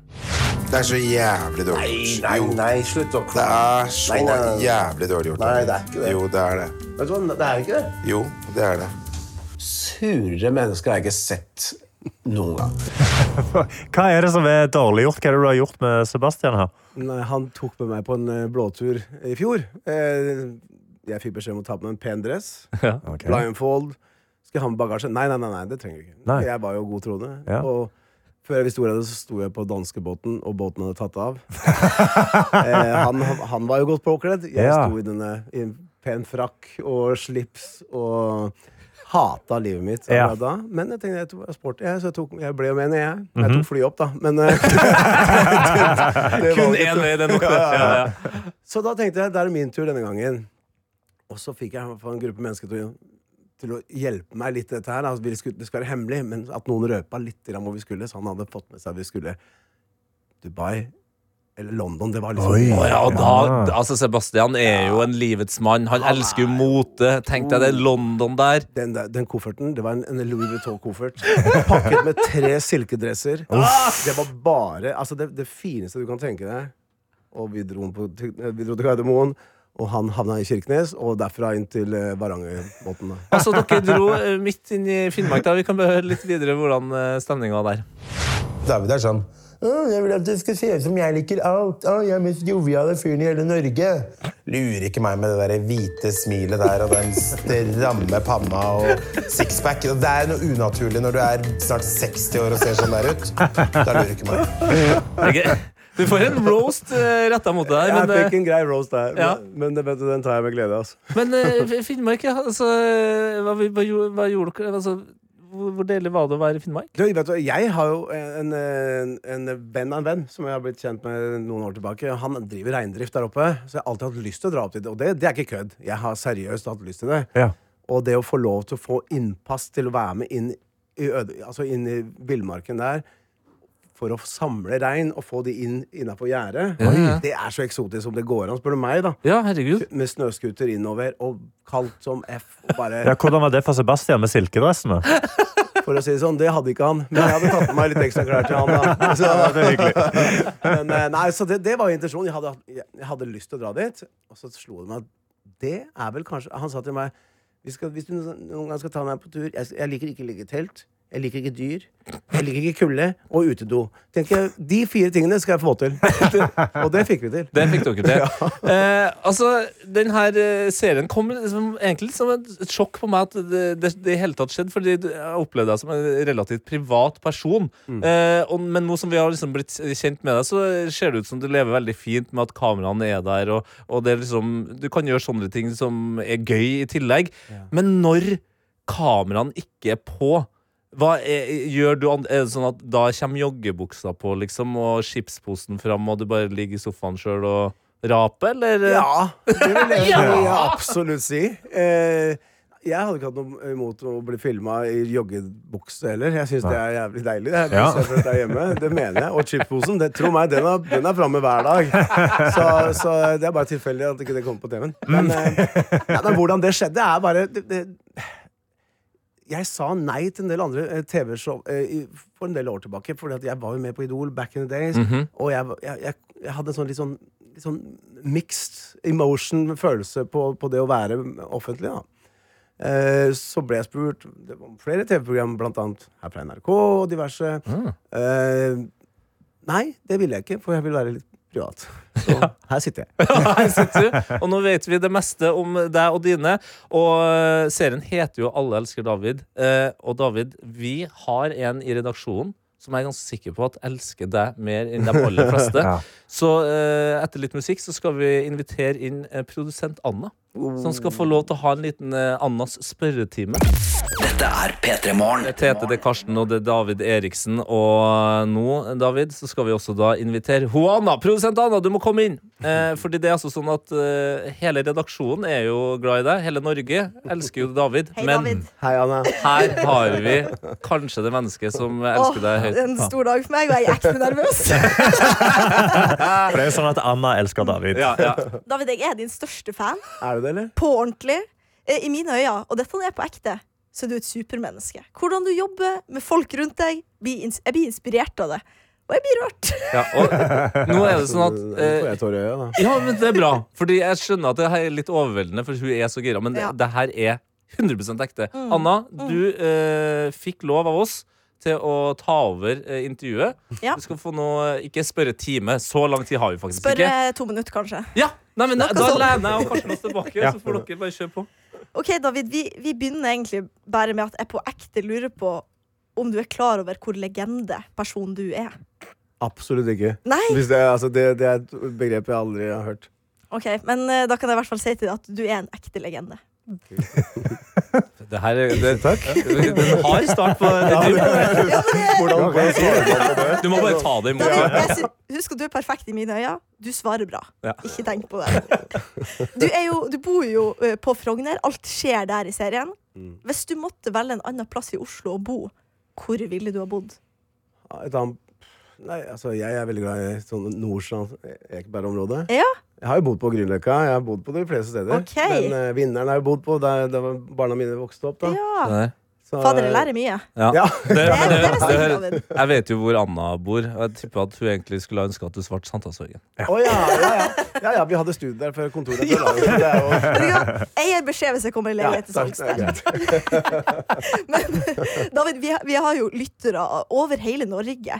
S8: Det er så jævlig dårlig gjort.
S11: Nei, nei, slutt å
S8: Det er så
S11: Nei, nei, nei.
S8: jævlig dårlig gjort.
S11: Nei, det er ikke det.
S8: Jo, det er det.
S11: Vet du hva, det er jo ikke det.
S8: Jo, det er det.
S11: Surere mennesker har jeg ikke sett noen gang.
S5: Hva er det som er dårlig gjort? Hva er det du har gjort med Sebastian her?
S11: Nei, han tok med meg på en eh, blåtur i fjor. Eh, jeg fikk beskjed om å ta på meg en pen dress.
S5: Ok.
S11: Blindfold. Skal jeg ha med bagasje? Nei, nei, nei, nei det trenger du ikke.
S5: Nei.
S11: Jeg var jo god troende.
S5: Ja.
S11: Og før jeg visste ordet av det, så sto jeg på danskebåten, og båten hadde tatt av. eh, han, han var jo godt påkledd. Jeg
S5: Ja.
S11: sto i denne i pen frakk og slips og Hata livet mitt
S5: Ja.
S11: akkurat da. Men jeg tenkte jeg tok, jeg er sporty, jeg, så jeg, tok, jeg ble jo med ned, jeg. Jeg
S5: Mhm.
S11: tok fly opp, da. Men eh, det- det
S4: Kun
S11: valget-
S4: én vei, det er nok. det.
S11: Ja, ja,
S4: Ja,
S11: ja.
S4: ja.
S11: Så da tenkte jeg det er min tur denne gangen. Og så fikk jeg en gruppe mennesker til å, til å hjelpe meg litt i dette her. da. Altså, vi skulle, det skulle være hemmelig, men at noen røpa litt grann hvor vi skulle. Så han hadde fått med seg at vi skulle Dubai eller London. Det var liksom
S5: Oi.
S4: Å ja, og
S5: Ja.
S4: da, altså Sebastian er jo en livets mann. Han elsker jo mote. Tenk deg det er London der.
S11: den, der- den kofferten, det var en, en Louis Vuitton-koffert pakket med tre silkedresser. Det var bare altså det, det fineste du kan tenke deg. Og vi dro, på, vi dro til Gardermoen, og han havna i Kirkenes, og derfra inn til eh, Varangerbotn. da.
S4: Altså, dere dro eh, midt inn i Finnmark. da Vi kan behøre litt videre hvordan stemninga var der.
S12: David er sånn «Å, jeg vil at det skal se ut som jeg liker alt. Å, jeg er mest joviale fyren i hele Norge. Lurer ikke meg med det der hvite smilet der og den stramme panna og sixpack. Det er noe unaturlig når du er snart 60 år og ser sånn der ut. Da lurer ikke meg.
S4: Ok. Du får en roast retta mot deg der,
S11: Jeg
S4: men, eh,
S11: fikk en grei roast der,
S4: Ja.
S11: men, men det, vet du, den tar jeg med glede. Altså.
S4: eh, men eh, Finnmark, ja. Altså, hva, vi- hva, gjorde- hva gjorde dere? Altså, hvor, hvor deilig var det å være i Finnmark?
S11: Du, vet du, jeg har jo en, en, en venn av en venn som jeg har blitt kjent med noen år tilbake. Han driver reindrift der oppe, så jeg har alltid hatt lyst til å dra opp dit. Og det, det er ikke kødd. Jeg har seriøst hatt lyst til det.
S5: Ja.
S11: Og det å få lov til å få innpass til å være med inn i, øde, altså inn i villmarken der for å samle rein og få de inn innafor gjerdet,
S4: Ja, ja.
S11: det er så eksotisk som det går an, spør du meg, da.
S4: Ja, herregud.
S11: Med snøscooter innover og kaldt som F. Og bare
S5: Ja, hvordan var det for Sebastian med silkedressene?
S11: For å si det sånn, det hadde ikke han. Men jeg hadde tatt med meg litt ekstra klær til han. da så,
S5: Ja, det er hyggelig.
S11: men, eh, nei, så det, det var intensjonen. Jeg hadde, hatt- jeg, jeg hadde lyst til å dra dit. Og så slo det meg at det er vel kanskje Han sa til meg Vi skal, Hvis du noen gang skal ta meg på tur Jeg, jeg liker ikke å ligge i telt. Jeg liker ikke dyr. Jeg liker ikke kulde og utedo. Tenker jeg, De fire tingene skal jeg få til. Og det fikk vi til.
S4: Det fikk dere til. Eh, altså, den her eh, serien kom liksom, egentlig som et et sjokk på meg at det, det, det i hele tatt skjedde, fordi du- jeg opplevde deg som en relativt privat person. Eh, og, men nå som vi har liksom blitt kjent med deg, så ser det ut som du lever veldig fint med at kameraene er der, og, og det er liksom, du kan gjøre sånne ting som er gøy i tillegg. Men når kameraene ikke er på hva er, gjør du an- Er det sånn at da kommer joggebuksa på, liksom, og chipsposen fram, og du bare ligger i sofaen sjøl og raper, eller?
S11: Ja, det vil jeg,
S4: Ja!
S11: vil jeg absolutt si. Eh, jeg hadde ikke hatt noe imot å bli filma i joggebukse heller. Jeg syns det er jævlig deilig. Det, er
S5: Ja.
S11: hvis jeg føler det, er hjemme. det mener jeg. Og chipposen. det- Tro meg, den er, den er framme hver dag. Så, så det er bare tilfeldig at ikke det kommer på TV-en. Men, eh, ja, men hvordan det skjedde, er bare det, det, jeg sa nei til en del andre eh, TV-show eh, i- for en del år tilbake. Fordi at jeg var jo med på Idol back in the days. Og jeg, var- jeg, jeg, jeg hadde en sånn litt sånn, litt sånn mixed emotion-følelse på, på det å være offentlig. da Eh, så ble jeg spurt Det var flere TV-program, blant annet her fra NRK og diverse.
S2: Mm.
S11: Eh, nei, det ville jeg ikke, for jeg vil være litt privat. Så her sitter jeg.
S4: Her sitter du, og nå vet vi det meste om deg og dine. Og eh, serien heter jo Alle elsker David. Eh, og David, vi har en i redaksjonen som jeg er ganske sikker på at elsker deg mer enn de aller fleste.
S5: Ja.
S4: Så eh, etter litt musikk så skal vi invitere inn eh, produsent Anna. Som skal få lov til å ha en liten eh, Annas spørretime.
S1: Dette er P3 Morgen.
S4: Det er Tete, det er Karsten og det er David Eriksen. Og nå, David, så skal vi også da invitere Juana, produsent Anna, du må komme inn! Eh, fordi det er altså sånn at eh, hele redaksjonen er jo glad i deg. Hele Norge elsker jo David.
S2: Hei,
S4: men
S2: David.
S11: Hei, Anna.
S4: her har vi kanskje det mennesket som elsker deg
S2: Åh,
S4: høyt.
S2: en stor dag for meg, og jeg er ekte nervøs.
S5: For det er jo sånn at Anna elsker David.
S4: Ja, ja.
S2: David, jeg er din største fan.
S11: Er du det, eller?
S2: På ordentlig. eh, I mine øyne, og dette er på ekte, så er du et supermenneske. Hvordan du jobber med folk rundt deg, blir ins jeg blir inspirert av det. Og jeg blir rørt.
S4: ja. Og nå er det sånn at
S11: Nå
S4: eh,
S11: får jeg tårer i øya, da.
S4: Ja, men det er bra. Fordi jeg skjønner at det her er litt overveldende, for hun er så gira. Men
S2: Ja. Mm.
S4: det, det her er 100 ekte. Anna, du eh, fikk lov av oss til å ta over eh, intervjuet.
S2: Ja.
S4: Du skal få noe Ikke spørre time. Så lang tid har vi faktisk
S2: Spørre
S4: ikke.
S2: eh, to minutter, kanskje.
S4: Ja, Nei, men da,
S2: Snakk
S4: da
S2: oss opp.
S4: lener jeg og Karsten oss tilbake,
S5: Ja.
S4: så får dere bare kjøre på.
S2: Ok, David, vi, vi begynner egentlig bare med at jeg på ekte lurer på om du er klar over hvor legende person du er.
S11: Absolutt ikke.
S2: Nei!
S11: Hvis det, altså, det, det er et begrep jeg aldri har hørt.
S2: Ok, Men eh, da kan jeg i hvert fall si til deg at du er en ekte legende.
S4: Det her er det, Takk. Den har start på Du må bare ta det imot.
S2: David, jeg sy- Husk at du er perfekt i mine øyne. Du svarer bra.
S4: Ja.
S2: Ikke tenk på det. Du, er jo, du bor jo eh, på Frogner. Alt skjer der i serien.
S4: Mm.
S2: Hvis du måtte velge en annen plass i Oslo å bo, hvor ville du ha bodd?
S11: Ja, Et annet Nei, altså, jeg er veldig glad i sånn Nordstrand, Ekeberg-området.
S2: Ja.
S11: Jeg har jo bodd på Grünerløkka. Jeg har bodd på de fleste steder.
S2: Ok.
S11: Men eh, vinneren har jeg bodd på der, der var barna mine vokste opp. da.
S2: Ja.
S11: Så,
S2: Fader, jeg
S11: eh,
S2: lærer mye.
S4: Ja.
S11: Ja.
S4: Det, det,
S11: Det er
S4: det,
S11: bestemt,
S4: det, jeg vet jo hvor Anna bor. og Jeg tipper at hun egentlig skulle ha ønska at du svarte Sankthanshaugen.
S11: Å ja, ja, ja. ja, ja. Vi hadde studio der før kontoret. Ja. Det er jo
S2: Jeg gir beskjed hvis jeg kommer i leilighet til salgs der.
S11: greit.
S2: David, vi, vi har jo lyttere over hele Norge.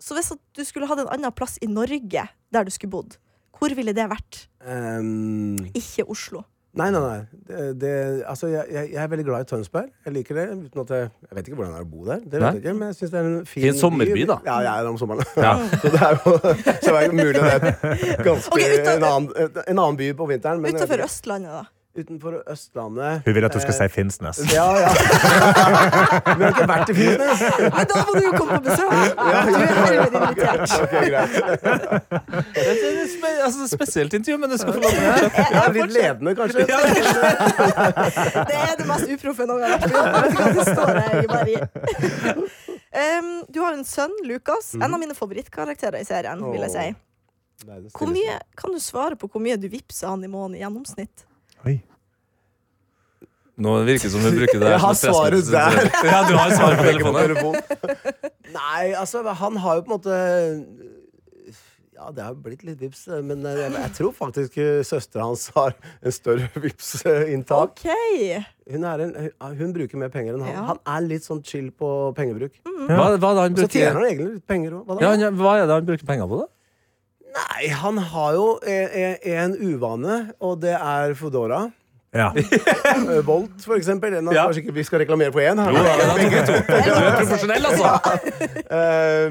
S2: Så hvis at du skulle hatt en annen plass i Norge der du skulle bodd, hvor ville det vært?
S11: Ehm,
S2: Ikke Oslo.
S11: nei, nei, nei. Det, det, altså, jeg, jeg jeg er veldig glad i Tønsberg. Jeg liker det. Uten at jeg, jeg vet ikke hvordan det er å bo der. Det vet
S4: Nei.
S11: jeg ikke, men jeg synes det er en fin
S4: Fin sommerby, da.
S11: Ja, jeg er der om sommeren.
S4: Ja.
S11: Så det er jo så det er jo mulig det er et ganske
S2: Ok, utenfor-
S11: en, annen, en annen by på vinteren. men jeg vet
S2: Utenfor
S11: ikke.
S2: Østlandet, da.
S11: Utenfor Østlandet.
S5: Hun vil at du skal
S11: Eh,
S5: si Finnsnes.
S11: Ja, ja. Vi har ikke vært i Finnsnes.
S2: Men da må du jo komme på besøk!
S11: Ja,
S2: Du er herved invitert.
S11: Ok, greit.
S4: Det er et spe- altså, et spesielt intervju, men det skal få lov til å fortsette.
S11: Jeg er litt ledende, kanskje.
S2: Det er det mest uproffe jeg noen gang har vært på jobb. Vet du hva, Det står jeg bare i. Um, du har en sønn, Lukas.
S11: Mm.
S2: En av mine favorittkarakterer i serien. vil jeg si. Hvor mye, kan du svare på hvor mye du vippser han i måneden i gjennomsnitt?
S4: Nå virker det som hun bruker det her
S11: Jeg har
S4: som et
S11: svaret
S4: pressmeddelelse. Ja, du har svaret på telefonen.
S11: Nei, altså, han har jo på en måte Ja, det har blitt litt vips, men eh, jeg, jeg tror faktisk eh, søstera hans har en større vipsinntak.
S2: OK!
S11: Hun, er en, hun bruker mer penger enn han.
S2: Ja. Mm.
S11: Han er litt sånn chill på pengebruk.
S4: Hva, hva, er det han
S11: Så
S4: bruker,
S11: tjener han egentlig litt penger òg.
S4: ja, han- hva er det han bruker penger på, da?
S11: Nei, han har jo eh, eh, en uvane, og det er Foodora.
S5: Ja.
S11: Eh, Volt, for eksempel. En av,
S4: Ja.
S11: Kanskje ikke vi skal reklamere for én.
S4: Du er profesjonell, altså!
S11: Eh,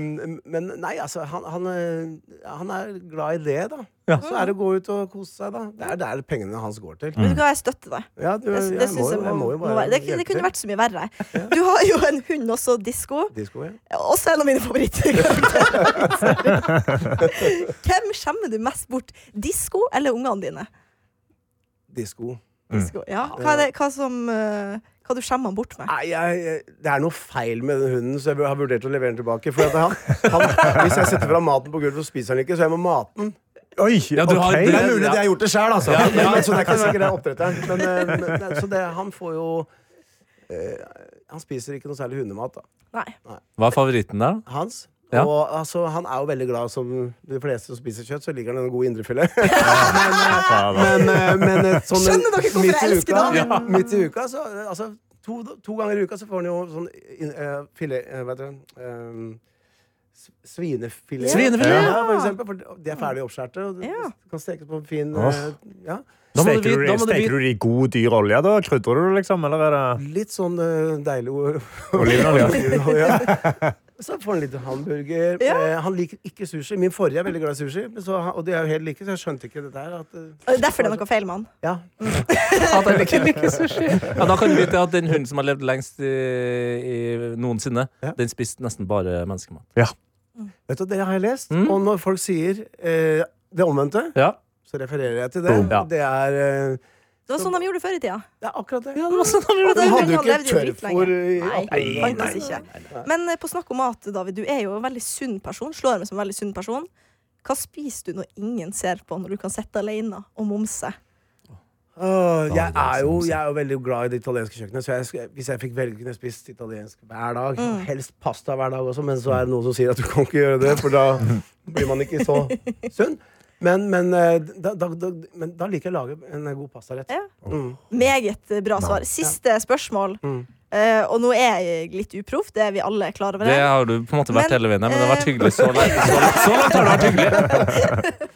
S11: men nei, altså, han, han, eh, han er glad i det, da. Så er det å gå ut og kose seg, da. Det er der pengene hans går
S4: Mm.
S11: til.
S2: Vet du hva, jeg støtter deg.
S11: Ja, du,
S2: Det,
S11: jeg,
S2: det,
S11: må,
S2: synes
S11: jo-
S2: jeg må,
S11: jeg må jo
S2: må
S11: bare
S2: være. det, det kunne vært så mye verre. Du har jo en hund også, Disko.
S11: Disko, ja.
S2: Også en av mine favorittkarakterer. Sorry. Hvem skjemmer du mest bort? Disko eller ungene dine?
S11: Disko.
S2: Disko. Ja. Hva, er det, hva, som, eh, hva du skjemmer han bort med?
S11: Nei, jeg, jeg- det er noe feil med den hunden, så jeg har vurdert å levere den tilbake. For at han, han, hvis jeg setter fra maten på gulvet, så spiser han ikke, så jeg må mate den.
S5: Oi,
S4: Ja, du har-
S5: ok.
S11: Det er mulig at jeg har gjort det sjøl, altså.
S4: Ja, ja.
S11: Men, men, så det er ikke sikkert det er oppdretteren. Men, eh, men, det- så det, han får jo eh, Han spiser ikke noe særlig hundemat, da.
S2: Nei.
S4: Hva er favoritten der?
S11: Hans.
S4: Ja.
S11: Og altså, han er jo veldig glad som de fleste som spiser kjøtt, så liker han en god indrefilet.
S5: Fader.
S11: men, eh, men eh, sånn, eh,
S2: Skjønner dere hvorfor
S11: midt i
S2: jeg elsker
S11: uka-
S2: det?
S11: Ja. Midt i uka, så eh, altså, to, to ganger i uka så får han jo sånn eh, filet eh, Hva heter det? Eh, s- Svinefilet.
S4: Svinefilet,
S11: ja.
S2: ja.
S11: for eksempel. For de er ferdig oppskåret og det
S2: Ja.
S11: kan stekes på en fin
S5: Åh.
S11: eh, ja.
S4: Da må du
S5: Steker du,
S4: vite- da
S5: de-
S4: må du
S5: steker
S4: vite-
S5: du det i god, dyr olje, da? Krydrer du det, liksom? Eller er det
S11: Litt sånn eh, deilig o-
S5: olivenolje?
S11: Ja. Så får han litt hamburger.
S2: Ja.
S11: Eh, han liker ikke sushi. Min forrige er veldig glad i sushi, men så, han- og de er jo helt like, så jeg skjønte ikke dette her. At, eh,
S2: Og det er Derfor det er noe feil med han.
S11: ja.
S4: At jeg ikke liker sushi. Ja, da kan du vite at den hunden som har levd lengst i, i noensinne,
S11: Ja.
S4: den spiste nesten bare menneskemat.
S11: Vet du, Det har jeg lest.
S4: Mm.
S11: Og når folk sier eh, det omvendte,
S4: Ja.
S11: så refererer jeg til det.
S4: Boom. Ja.
S11: Det, er, eh,
S2: Det var sånn de gjorde før i tida.
S11: det er akkurat det.
S4: det var sånn han
S2: Og
S11: De
S2: den
S11: hadde jo
S2: gangen
S11: ikke
S2: levde jo
S11: tørrfôr i
S2: dritlenge.
S11: Nei,
S2: Nei, faktisk ikke. Men eh, på snakk om mat, David, du er jo en veldig sunn person. Slår meg som en veldig sunn person. Hva spiser du når ingen ser på, når du kan sitte alene og momse?
S11: Åh, jeg,
S4: det er
S11: er
S4: som
S11: jo,
S4: du sier.
S11: jeg er jo veldig glad i det italienske kjøkkenet. Så jeg, sk- hvis jeg fikk velge, kunne jeg spist italiensk hver dag. Helst pasta hver dag også, men så er det noen som sier at du kan ikke gjøre det, for da blir man ikke så sunn. Men, men, eh, da, da, da, men da liker jeg å lage en god pastarett.
S2: Ja.
S11: Mm.
S2: Meget eh, bra svar. Siste spørsmål.
S11: Mm.
S2: Eh, og nå er jeg litt uproff, det er vi alle klar over.
S4: Det
S2: her.
S4: har du på en måte vært
S2: Men,
S4: hele veien, her, men det har vært
S2: eh,
S4: hyggelig så langt. Så langt, så langt har det vært hyggelig.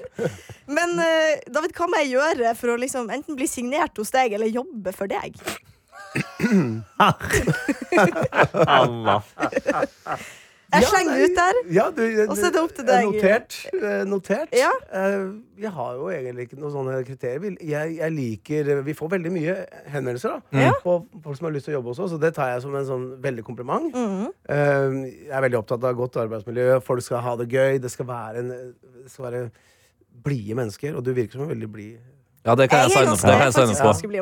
S2: Men eh, David, hva må jeg gjøre for å liksom enten bli signert hos deg eller jobbe for deg? Jeg slenger det ut der.
S11: Ja, du,
S2: Og så er det opp til
S11: jeg
S2: deg.
S11: Notert. eh, notert. Eh, Vi har jo egentlig ikke noen sånne kriterier. Vi- Jeg, jeg liker Vi får veldig mye henvendelser da,
S2: Ja.
S11: på folk som har lyst til å jobbe også, så det tar jeg som en sånn veldig kompliment.
S2: Mhm.
S11: Eh, Jeg er veldig opptatt av godt arbeidsmiljø. Folk skal ha det gøy. Det skal være, en, det skal være blide mennesker, og du virker som en veldig blid
S4: Ja, det kan jeg signe på. Det kan jeg signe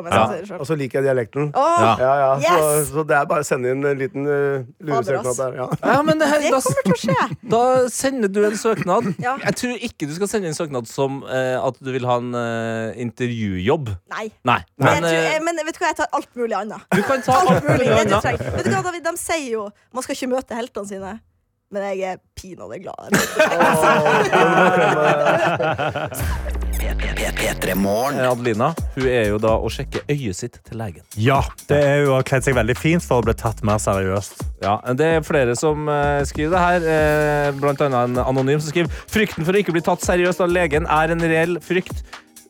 S4: på. Ja.
S11: Ja. Og så liker jeg dialekten.
S4: Åh,
S11: ja, ja.
S4: yes!
S11: Så, så det er bare å sende inn en liten uh, luresøknad der. Ja.
S4: Ja, men det, her, da,
S2: kommer til å skje.
S4: Da sender du en søknad. Jeg tror ikke du skal sende en søknad som eh, at du vil ha en eh, intervjujobb.
S2: Nei.
S4: Nei.
S2: Men,
S4: Men,
S2: jeg tror,
S4: eh,
S2: jeg, men vet du hva, jeg tar alt mulig annet.
S4: Du kan ta alt mulig
S2: det du
S4: annet.
S2: trenger. Vet du hva, David, de sier jo man skal ikke møte heltene sine. Men jeg er pinadø glad.
S4: eh, Adelina hun er jo da å sjekke øyet sitt til legen.
S5: Ja, det er jo å ha kledd seg veldig fint for å bli tatt mer seriøst.
S4: Ja, Det er flere som eh, skriver det her, eh, blant annet en anonym som skriver frykten for å ikke bli tatt seriøst av legen er en reell frykt.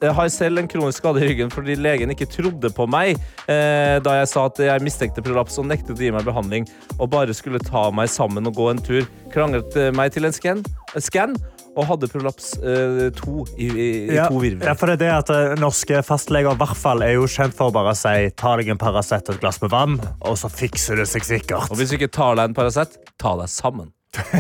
S4: Jeg har selv en kronisk skade i ryggen fordi legen ikke trodde på meg eh, da jeg sa at jeg mistenkte prolaps og nektet å gi meg behandling og bare skulle ta meg sammen og gå en tur. Kranglet eh, meg til en scan, en scan og hadde prolaps eh, to i, i, i
S5: Ja,
S4: to virvel.
S5: ja, for det er det at eh, Norske fastleger i hvert fall er jo kjent for å bare si ta deg en Paracet og et glass med vann, og så fikser det seg sikkert.
S4: Og hvis du ikke tar deg en Paracet, ta deg sammen.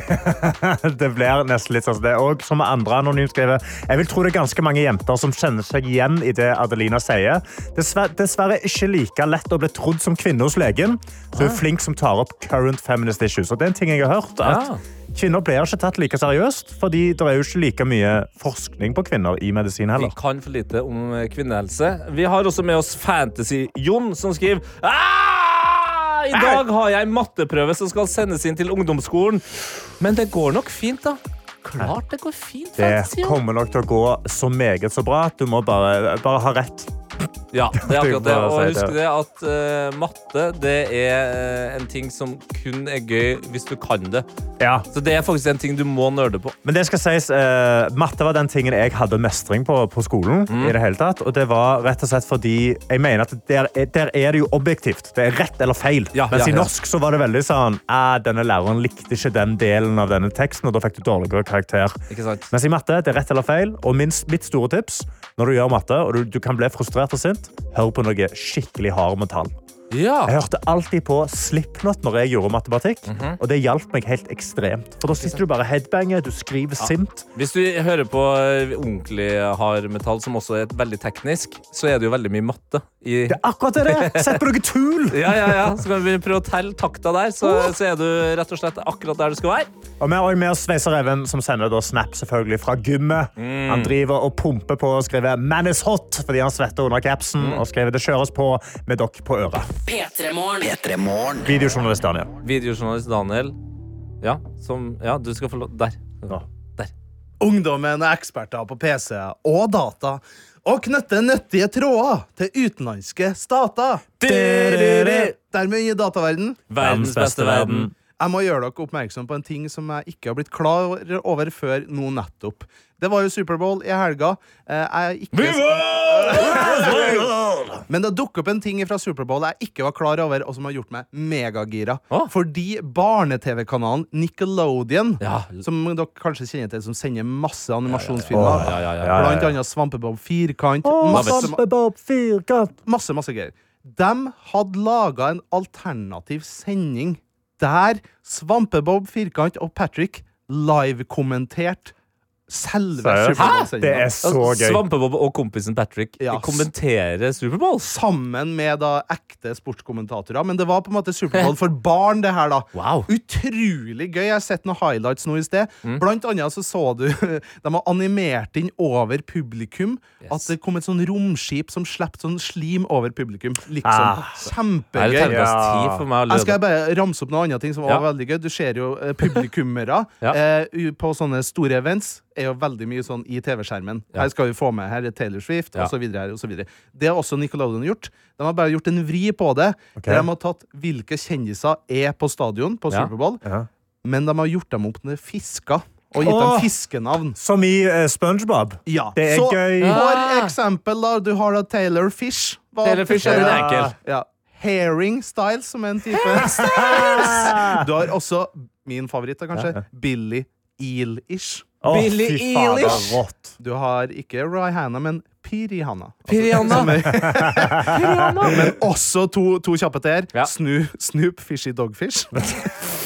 S5: det blir nesten litt sånn som det. Og som andre anonym skriver, jeg vil tro det er ganske mange jenter som kjenner seg igjen i det Adelina sier. Dessverre, dessverre ikke like lett å bli trodd som kvinne hos legen. Så hun
S4: Ah.
S5: er flink som tar opp current feminist issues. Og det er en ting jeg har hørt, at kvinner blir ikke tatt like seriøst, fordi det er jo ikke like mye forskning på kvinner i medisin
S4: Vi
S5: heller.
S4: kan for lite om eh, kvinnehelse. Vi har også med oss Fantasy-Jon, som skriver «Ah! I dag har jeg matteprøve som skal sendes inn til ungdomsskolen. Men det går nok fint, da. Klart det går fint.
S5: Det
S4: Fantasy-Jon.
S5: kommer nok til å gå så meget så bra at du må bare, bare ha rett.
S4: Ja, det er akkurat det. Og
S5: Bare si det.
S4: husk det at eh, matte det er eh, en ting som kun er gøy hvis du kan det. Så det er faktisk en ting du må nerde på.
S5: Men det skal sies, eh, matte var den tingen jeg hadde mestring på på skolen.
S4: Mm.
S5: i det hele tatt, Og det var rett og slett fordi jeg mener at der, er- der er det jo objektivt. Det er rett eller feil. Mens
S4: ja,
S5: i
S4: ja.
S5: norsk så var det veldig sånn eh, denne læreren likte ikke den delen av denne teksten, og da fikk du dårligere karakter.
S4: Ikke sant?
S5: Mens i matte det er rett eller feil. Og minst, mitt store tips når du gjør matte, og du, du kan bli frustrert og sint, hør på noe skikkelig hard med tall. Jeg hørte alltid på Slipknot når jeg gjorde matematikk, og det hjalp meg helt ekstremt. For da sitter du bare headbanger, du skriver sint.
S4: Hvis du hører på eh, ordentlig hard metall, som også er veldig teknisk, så er det jo veldig mye matte. I... Det
S5: er akkurat det det er. Sett på noe tul!
S4: ja, ja, ja. Så kan vi prøve å telle takta der, så, så er du rett og slett akkurat der du skal være.
S5: Og vi har også med oss Sveiser Even, som sender da snap selvfølgelig fra gymmet. Han driver og pumper på og skriver 'Man is hot' fordi han svetter under capsen. Og skriver 'Det kjøres på med dere på øret'. Videojournalist Daniel.
S4: Videojournalist Daniel. Ja, som Ja, du skal få lov Der.
S13: Ungdommen er eksperter på PC og data og knytter nyttige tråder til utenlandske stater. Dermed i dataverden
S4: Verdens beste verden.
S13: Jeg må gjøre dere oppmerksom på en ting som jeg ikke har blitt klar over før nå nettopp. Det var jo Superbowl i helga. Eh, Jeg er ikke Men det dukker opp en ting fra Superbowl jeg ikke var klar over, og som har gjort meg megagira. Fordi barne-TV-kanalen Nickelodeon, som dere kanskje kjenner til, som sender masse animasjonsfilmer,
S4: Ja, ja, ja, ja, ja.
S13: blant annet Svampebob Firkant,
S5: Å,
S13: masse,
S5: Svampebob Firkant.
S13: masse, masse greier. De hadde laga en alternativ sending der Svampebob Firkant og Patrick live-kommenterte selve
S4: Seriøst? Hæ?
S13: Superbowl-sendinga.
S4: Det er så gøy. Svampebob og kompisen Patrick eh, kommenterer Superbowl.
S13: Sammen med da ekte sportskommentatorer. Men det var på en måte Superbowl for barn, det her, da. Utrolig gøy. Jeg har sett noen highlights nå i sted.
S4: Mm.
S13: Blant annet så så du De har animert inn over publikum at det kom et sånn romskip som slapp sånn slim over publikum. Liksom.
S4: Ah. Er
S13: Kjempegøy.
S4: det terningkast ti for meg å lure
S13: Jeg skal bare ramse opp noen andre ting som var
S4: Ja.
S13: veldig gøy. Du ser jo eh, publikummere eh, u- på sånne store events. Er jo veldig mye sånn i TV-skjermen.
S4: Ja.
S13: Her skal vi få med her er Taylor Swift
S4: Ja.
S13: og så videre her, og så videre. Det har også Nickelodeon gjort. De har bare gjort en vri på det.
S5: Ok.
S13: Der de har tatt hvilke kjendiser er på stadion på
S5: Ja.
S13: Superbowl, men de har gjort dem opp med fisker. Og gitt
S5: Åh!
S13: dem fiskenavn.
S5: Som i eh, SpongeBob. Det er
S13: så
S5: gøy. Ah!
S13: for eksempel, da, du har da Taylor Fish. Hva-
S5: Taylor Fish er den enkel.
S13: Ja. Herring Styles, som er en type Du har også min favoritt, da, kanskje. Billy Eilish.
S5: Å, Billie fy faen, det er Eilish. rått.
S13: Du har ikke Rihanna, men Pirihanna. Altså,
S5: Pirihanna.
S13: som er- Men også to, to kjappe til her. Snu, Snoop Fishy Dogfish.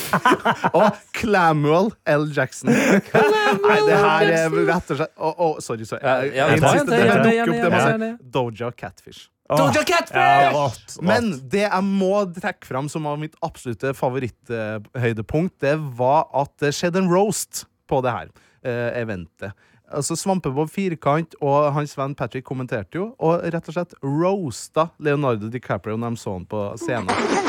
S13: og Clamwell L. Jackson. Nei, det her er rett og slett Å, å, Sorry, sorry.
S4: ja,
S13: Jeg
S4: ta
S13: insisterer,
S4: igjen, ta igjen,
S13: det
S4: ta igjen,
S13: dukker opp, det må
S4: ja,
S13: jeg
S4: ja,
S13: si. Doja Catfish.
S4: Doja Catfish! Ja, rått, rått.
S13: Men det jeg må trekke fram som var mitt absolutte favoritthøydepunkt, det var at det skjedde en roast på det her eh, eventet. Altså Svampebob Firkant og hans venn Patrick kommenterte jo, og rett og slett roasta Leonardo DiCaprio når de så han på scenen.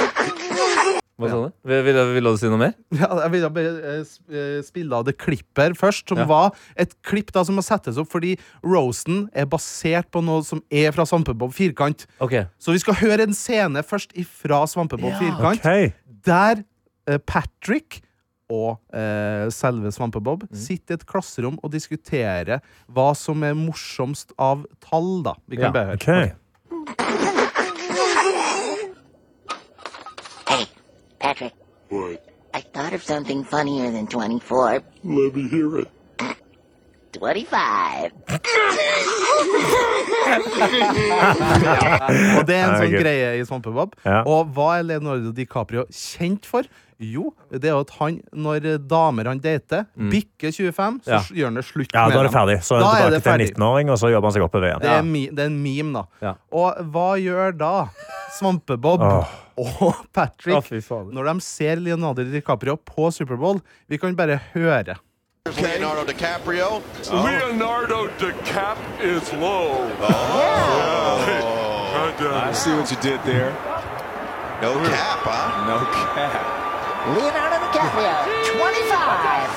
S4: Hva sa du? Ville ville du si noe mer?
S13: Ja, jeg ville bare eh, sp- eh, spille av det klippet her først, som
S4: Ja.
S13: var et klipp da som må settes opp fordi roasten er basert på noe som er fra Svampebob Firkant. Så vi skal høre en scene først ifra Svampebob
S4: Ja.
S13: Firkant, der eh, Patrick og eh, selve Svampebob
S5: Mm.
S13: sitter i et klasserom og diskuterer hva som er morsomst av tall, da. Vi kan
S14: Ja.
S13: bare høre.
S14: Ok.
S15: Hey, Patrick. What? I thought of something funnier than 24. Let me hear it. 25.
S13: Og det er
S15: Ja,
S13: en sånn
S15: gøy.
S13: greie i Svampebob. Og hva er Leonardo DiCaprio kjent for? Jo, det er jo at han, når damer han dater, bikker 25, så
S5: Mm. Ja.
S13: gjør han det slutt
S5: Ja, da er det
S13: med dem.
S5: ferdig. Så er
S13: Da er
S5: det
S13: det
S5: tilbake til en
S13: ferdig.
S5: 19-åring, og så jobber han seg oppover igjen.
S13: Det er, mi, det er en meme, da. Og hva gjør da Svampebob
S5: Åh.
S13: og Patrick når de ser Leonardo DiCaprio på Superbowl? Vi kan bare høre.
S16: Leonardo DiCaprio.
S17: Oh. Leonardo DiCap is low.
S16: Oh. I see what you did there. Oh. No cap, huh? No cap.
S15: Leonardo DiCaprio, 25.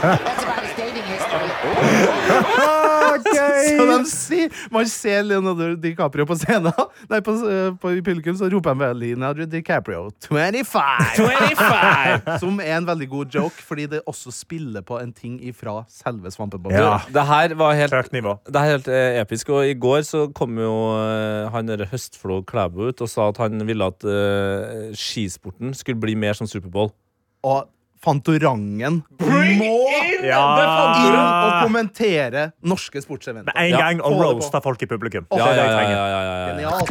S15: That's about his dating history.
S13: Så de sier, man ser Leonardo DiCaprio på scenen. Nei, på, eh, på, I publikum så roper han bare Leonardo DiCaprio 25!
S4: 25!
S13: Som er en veldig god joke, fordi det også spiller på en ting ifra selve Svampebob.
S4: Du, Det her var helt, Det her er helt eh, episk. Og i går så kom jo eh, han derre Høstflo Klæbo ut og sa at han ville at eh, skisporten skulle bli mer som Superbowl.
S13: Og Fantorangen må
S4: in
S13: inn
S4: the Fantorangen!
S13: og kommentere norske sportseventer.
S5: Med en
S13: Ja,
S5: gang
S13: få
S5: å
S13: det på.
S5: roaste folk i publikum.
S13: Ja,
S5: Det er det jeg
S4: ja, ja,
S5: trenger.
S4: ja, ja, ja.
S13: Genialt.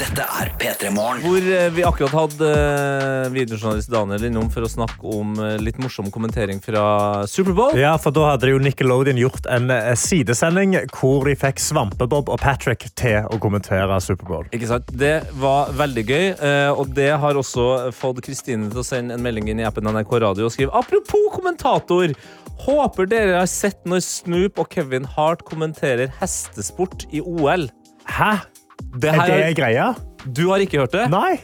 S1: Dette er P3 Morgen.
S4: Hvor eh, vi akkurat hadde eh, videojournalist Daniel innom for å snakke om eh, litt morsom kommentering fra Superbowl.
S5: Ja, for da hadde jo Nickelodeon gjort en eh, sidesending hvor de fikk Svampebob og Patrick til å kommentere Superbowl.
S4: Ikke sant? Det var veldig gøy, eh, og det har også fått Kristine til å sende en melding inn i appen NRK Radio og skrive Apropos kommentator! Håper dere har sett når Snoop og Kevin Hart kommenterer hestesport i OL.
S5: Hæ?
S4: Det
S5: Er det greia?
S4: Du har ikke hørt det?
S5: Nei.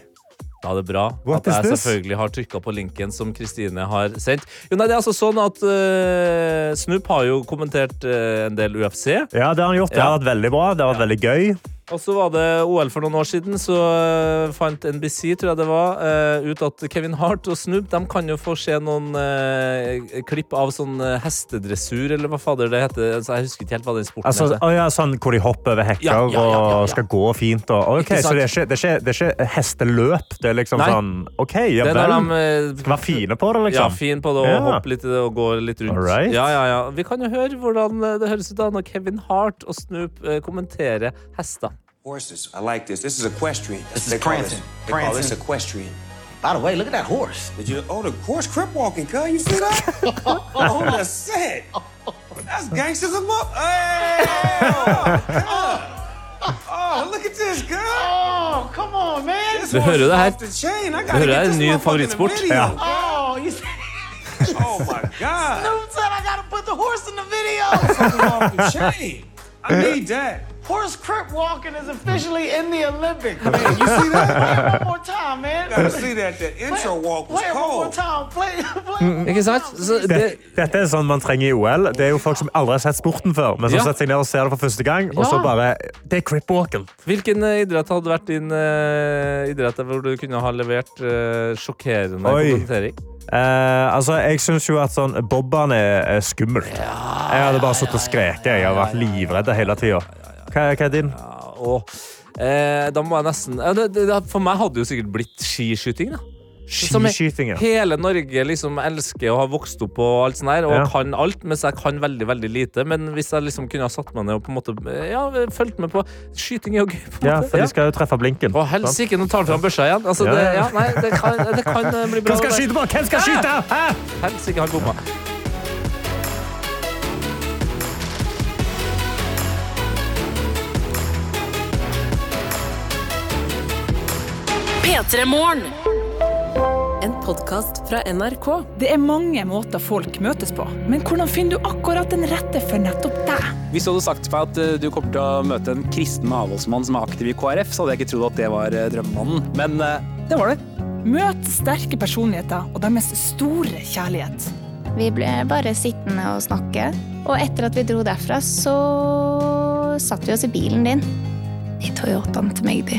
S4: Da er det bra
S5: What
S4: at
S5: is
S4: jeg
S5: this?
S4: selvfølgelig har trykka på linken som Kristine har sendt. Jo, nei, det er altså sånn at eh, Snoop har jo kommentert eh, en del UFC.
S5: Ja, det har han gjort. Det har vært veldig bra. Det har vært veldig gøy.
S4: Og så var det OL for noen år siden, så eh, fant NBC tror jeg det var, eh, ut at Kevin Hart og Snoop de kan jo få se noen eh, klipp av sånn eh, hestedressur, eller hva fader det heter. Altså, jeg husker ikke helt hva den sporten
S5: Altså,
S4: heter.
S5: å ja, sånn hvor de hopper over hekker
S4: Ja, ja, ja, ja, ja.
S5: og skal gå fint. Og, ok,
S4: Ikke sant?
S5: så det er, ikke, det, er ikke, det er ikke hesteløp. Det er liksom
S4: Nei.
S5: sånn OK, ja
S4: Det er
S5: vel.
S4: når de, eh,
S5: Skal være fine på det,
S4: Ja,
S5: liksom.
S4: fin på det, og
S5: Ja.
S4: hoppe litt i det, og gå litt rundt.
S5: Alright.
S4: Ja, ja, ja. Vi kan jo høre hvordan eh, det høres ut da når Kevin Hart og Snoop eh, kommenterer hester.
S18: Horses. I like this. This is equestrian.
S4: This is
S18: They call
S4: prancing.
S18: They call this
S4: Prancing.
S18: equestrian. By the way, look at that horse. Did you? Oh, the horse crip walking, cuz. You see that? oh, that's sad. That's gangsters of up. Hey! Oh, cuz. oh, look at this, cuz. Oh, come on, man. This
S4: Du
S18: horse
S4: hører
S18: is
S4: det her.
S18: off the chain. I
S4: Du
S18: gotta
S4: hører det
S18: get
S4: er en
S18: this
S4: ny
S18: motherfucker in the
S4: favorittsport.
S18: video,
S4: Ja.
S18: cuz.
S15: Oh, you said,
S18: Oh, my God.
S15: Snoop said I gotta put the horse in the
S18: Off the
S15: video.
S18: chain. I need that.
S15: horse crip walking is officially in the Olympics. Man,
S18: you see that?
S15: One more time, man.
S18: Gotta see that. That intro walk was
S15: Play it one more
S18: cold.
S15: time. Play, play.
S18: Hmm.
S4: Ikke sant? Så
S5: Det, dette er sånn man trenger i OL. Det er jo folk som aldri har sett sporten før, men som
S4: Ja.
S5: setter seg ned og ser det for første gang, og så
S4: Ja.
S5: bare Det er cripwalken.
S4: Hvilken eh, idrett hadde vært din eh, idrett hvor du kunne ha levert eh, sjokkerende
S5: Oi.
S4: kommentering?
S5: Eh, altså, jeg syns jo at sånn Bobban er, er skummel. Jeg hadde bare sittet og skreket. Jeg har vært livredd hele tida. Hva, hva er din?
S4: Og Eh, da må jeg nesten ja, det, det, For meg hadde det jo sikkert blitt skiskyting, da. Som jeg-
S5: Skiskyting, ja.
S4: Hele Norge liksom elsker og har vokst opp og alt sånt her, og
S5: Ja.
S4: kan alt, mens jeg kan veldig veldig lite. Men hvis jeg liksom kunne ha satt meg ned og på en måte eh, ja, fulgt med på Skyting er jo gøy. på en
S5: Ja,
S4: måte.
S5: for de skal jo treffe blinken.
S4: Å, helsike, nå tar han fram børsa igjen. Altså,
S5: Ja,
S4: det,
S5: ja.
S4: ja, nei, det kan, det kan eh, bli bra.
S5: Hvem
S4: det
S5: skal
S4: der.
S5: skyte på? Hvem skal
S4: Hæ?
S5: skyte? Hæ?
S4: Helsike, han bomma.
S14: P3morgen. En podkast fra NRK. Det er mange måter folk møtes på, men hvordan finner du akkurat den rette for nettopp deg?
S19: Hvis du hadde sagt til meg at eh, du kommer til å møte en kristen avholdsmann som er aktiv i KrF, så hadde jeg ikke trodd at det var eh, drømmemannen. Men eh,
S14: Det var det. Møt sterke personligheter og deres store kjærlighet.
S20: Vi ble bare sittende og snakke. Og etter at vi dro derfra, så satt vi oss i bilen din. I Toyotaen til meg, de.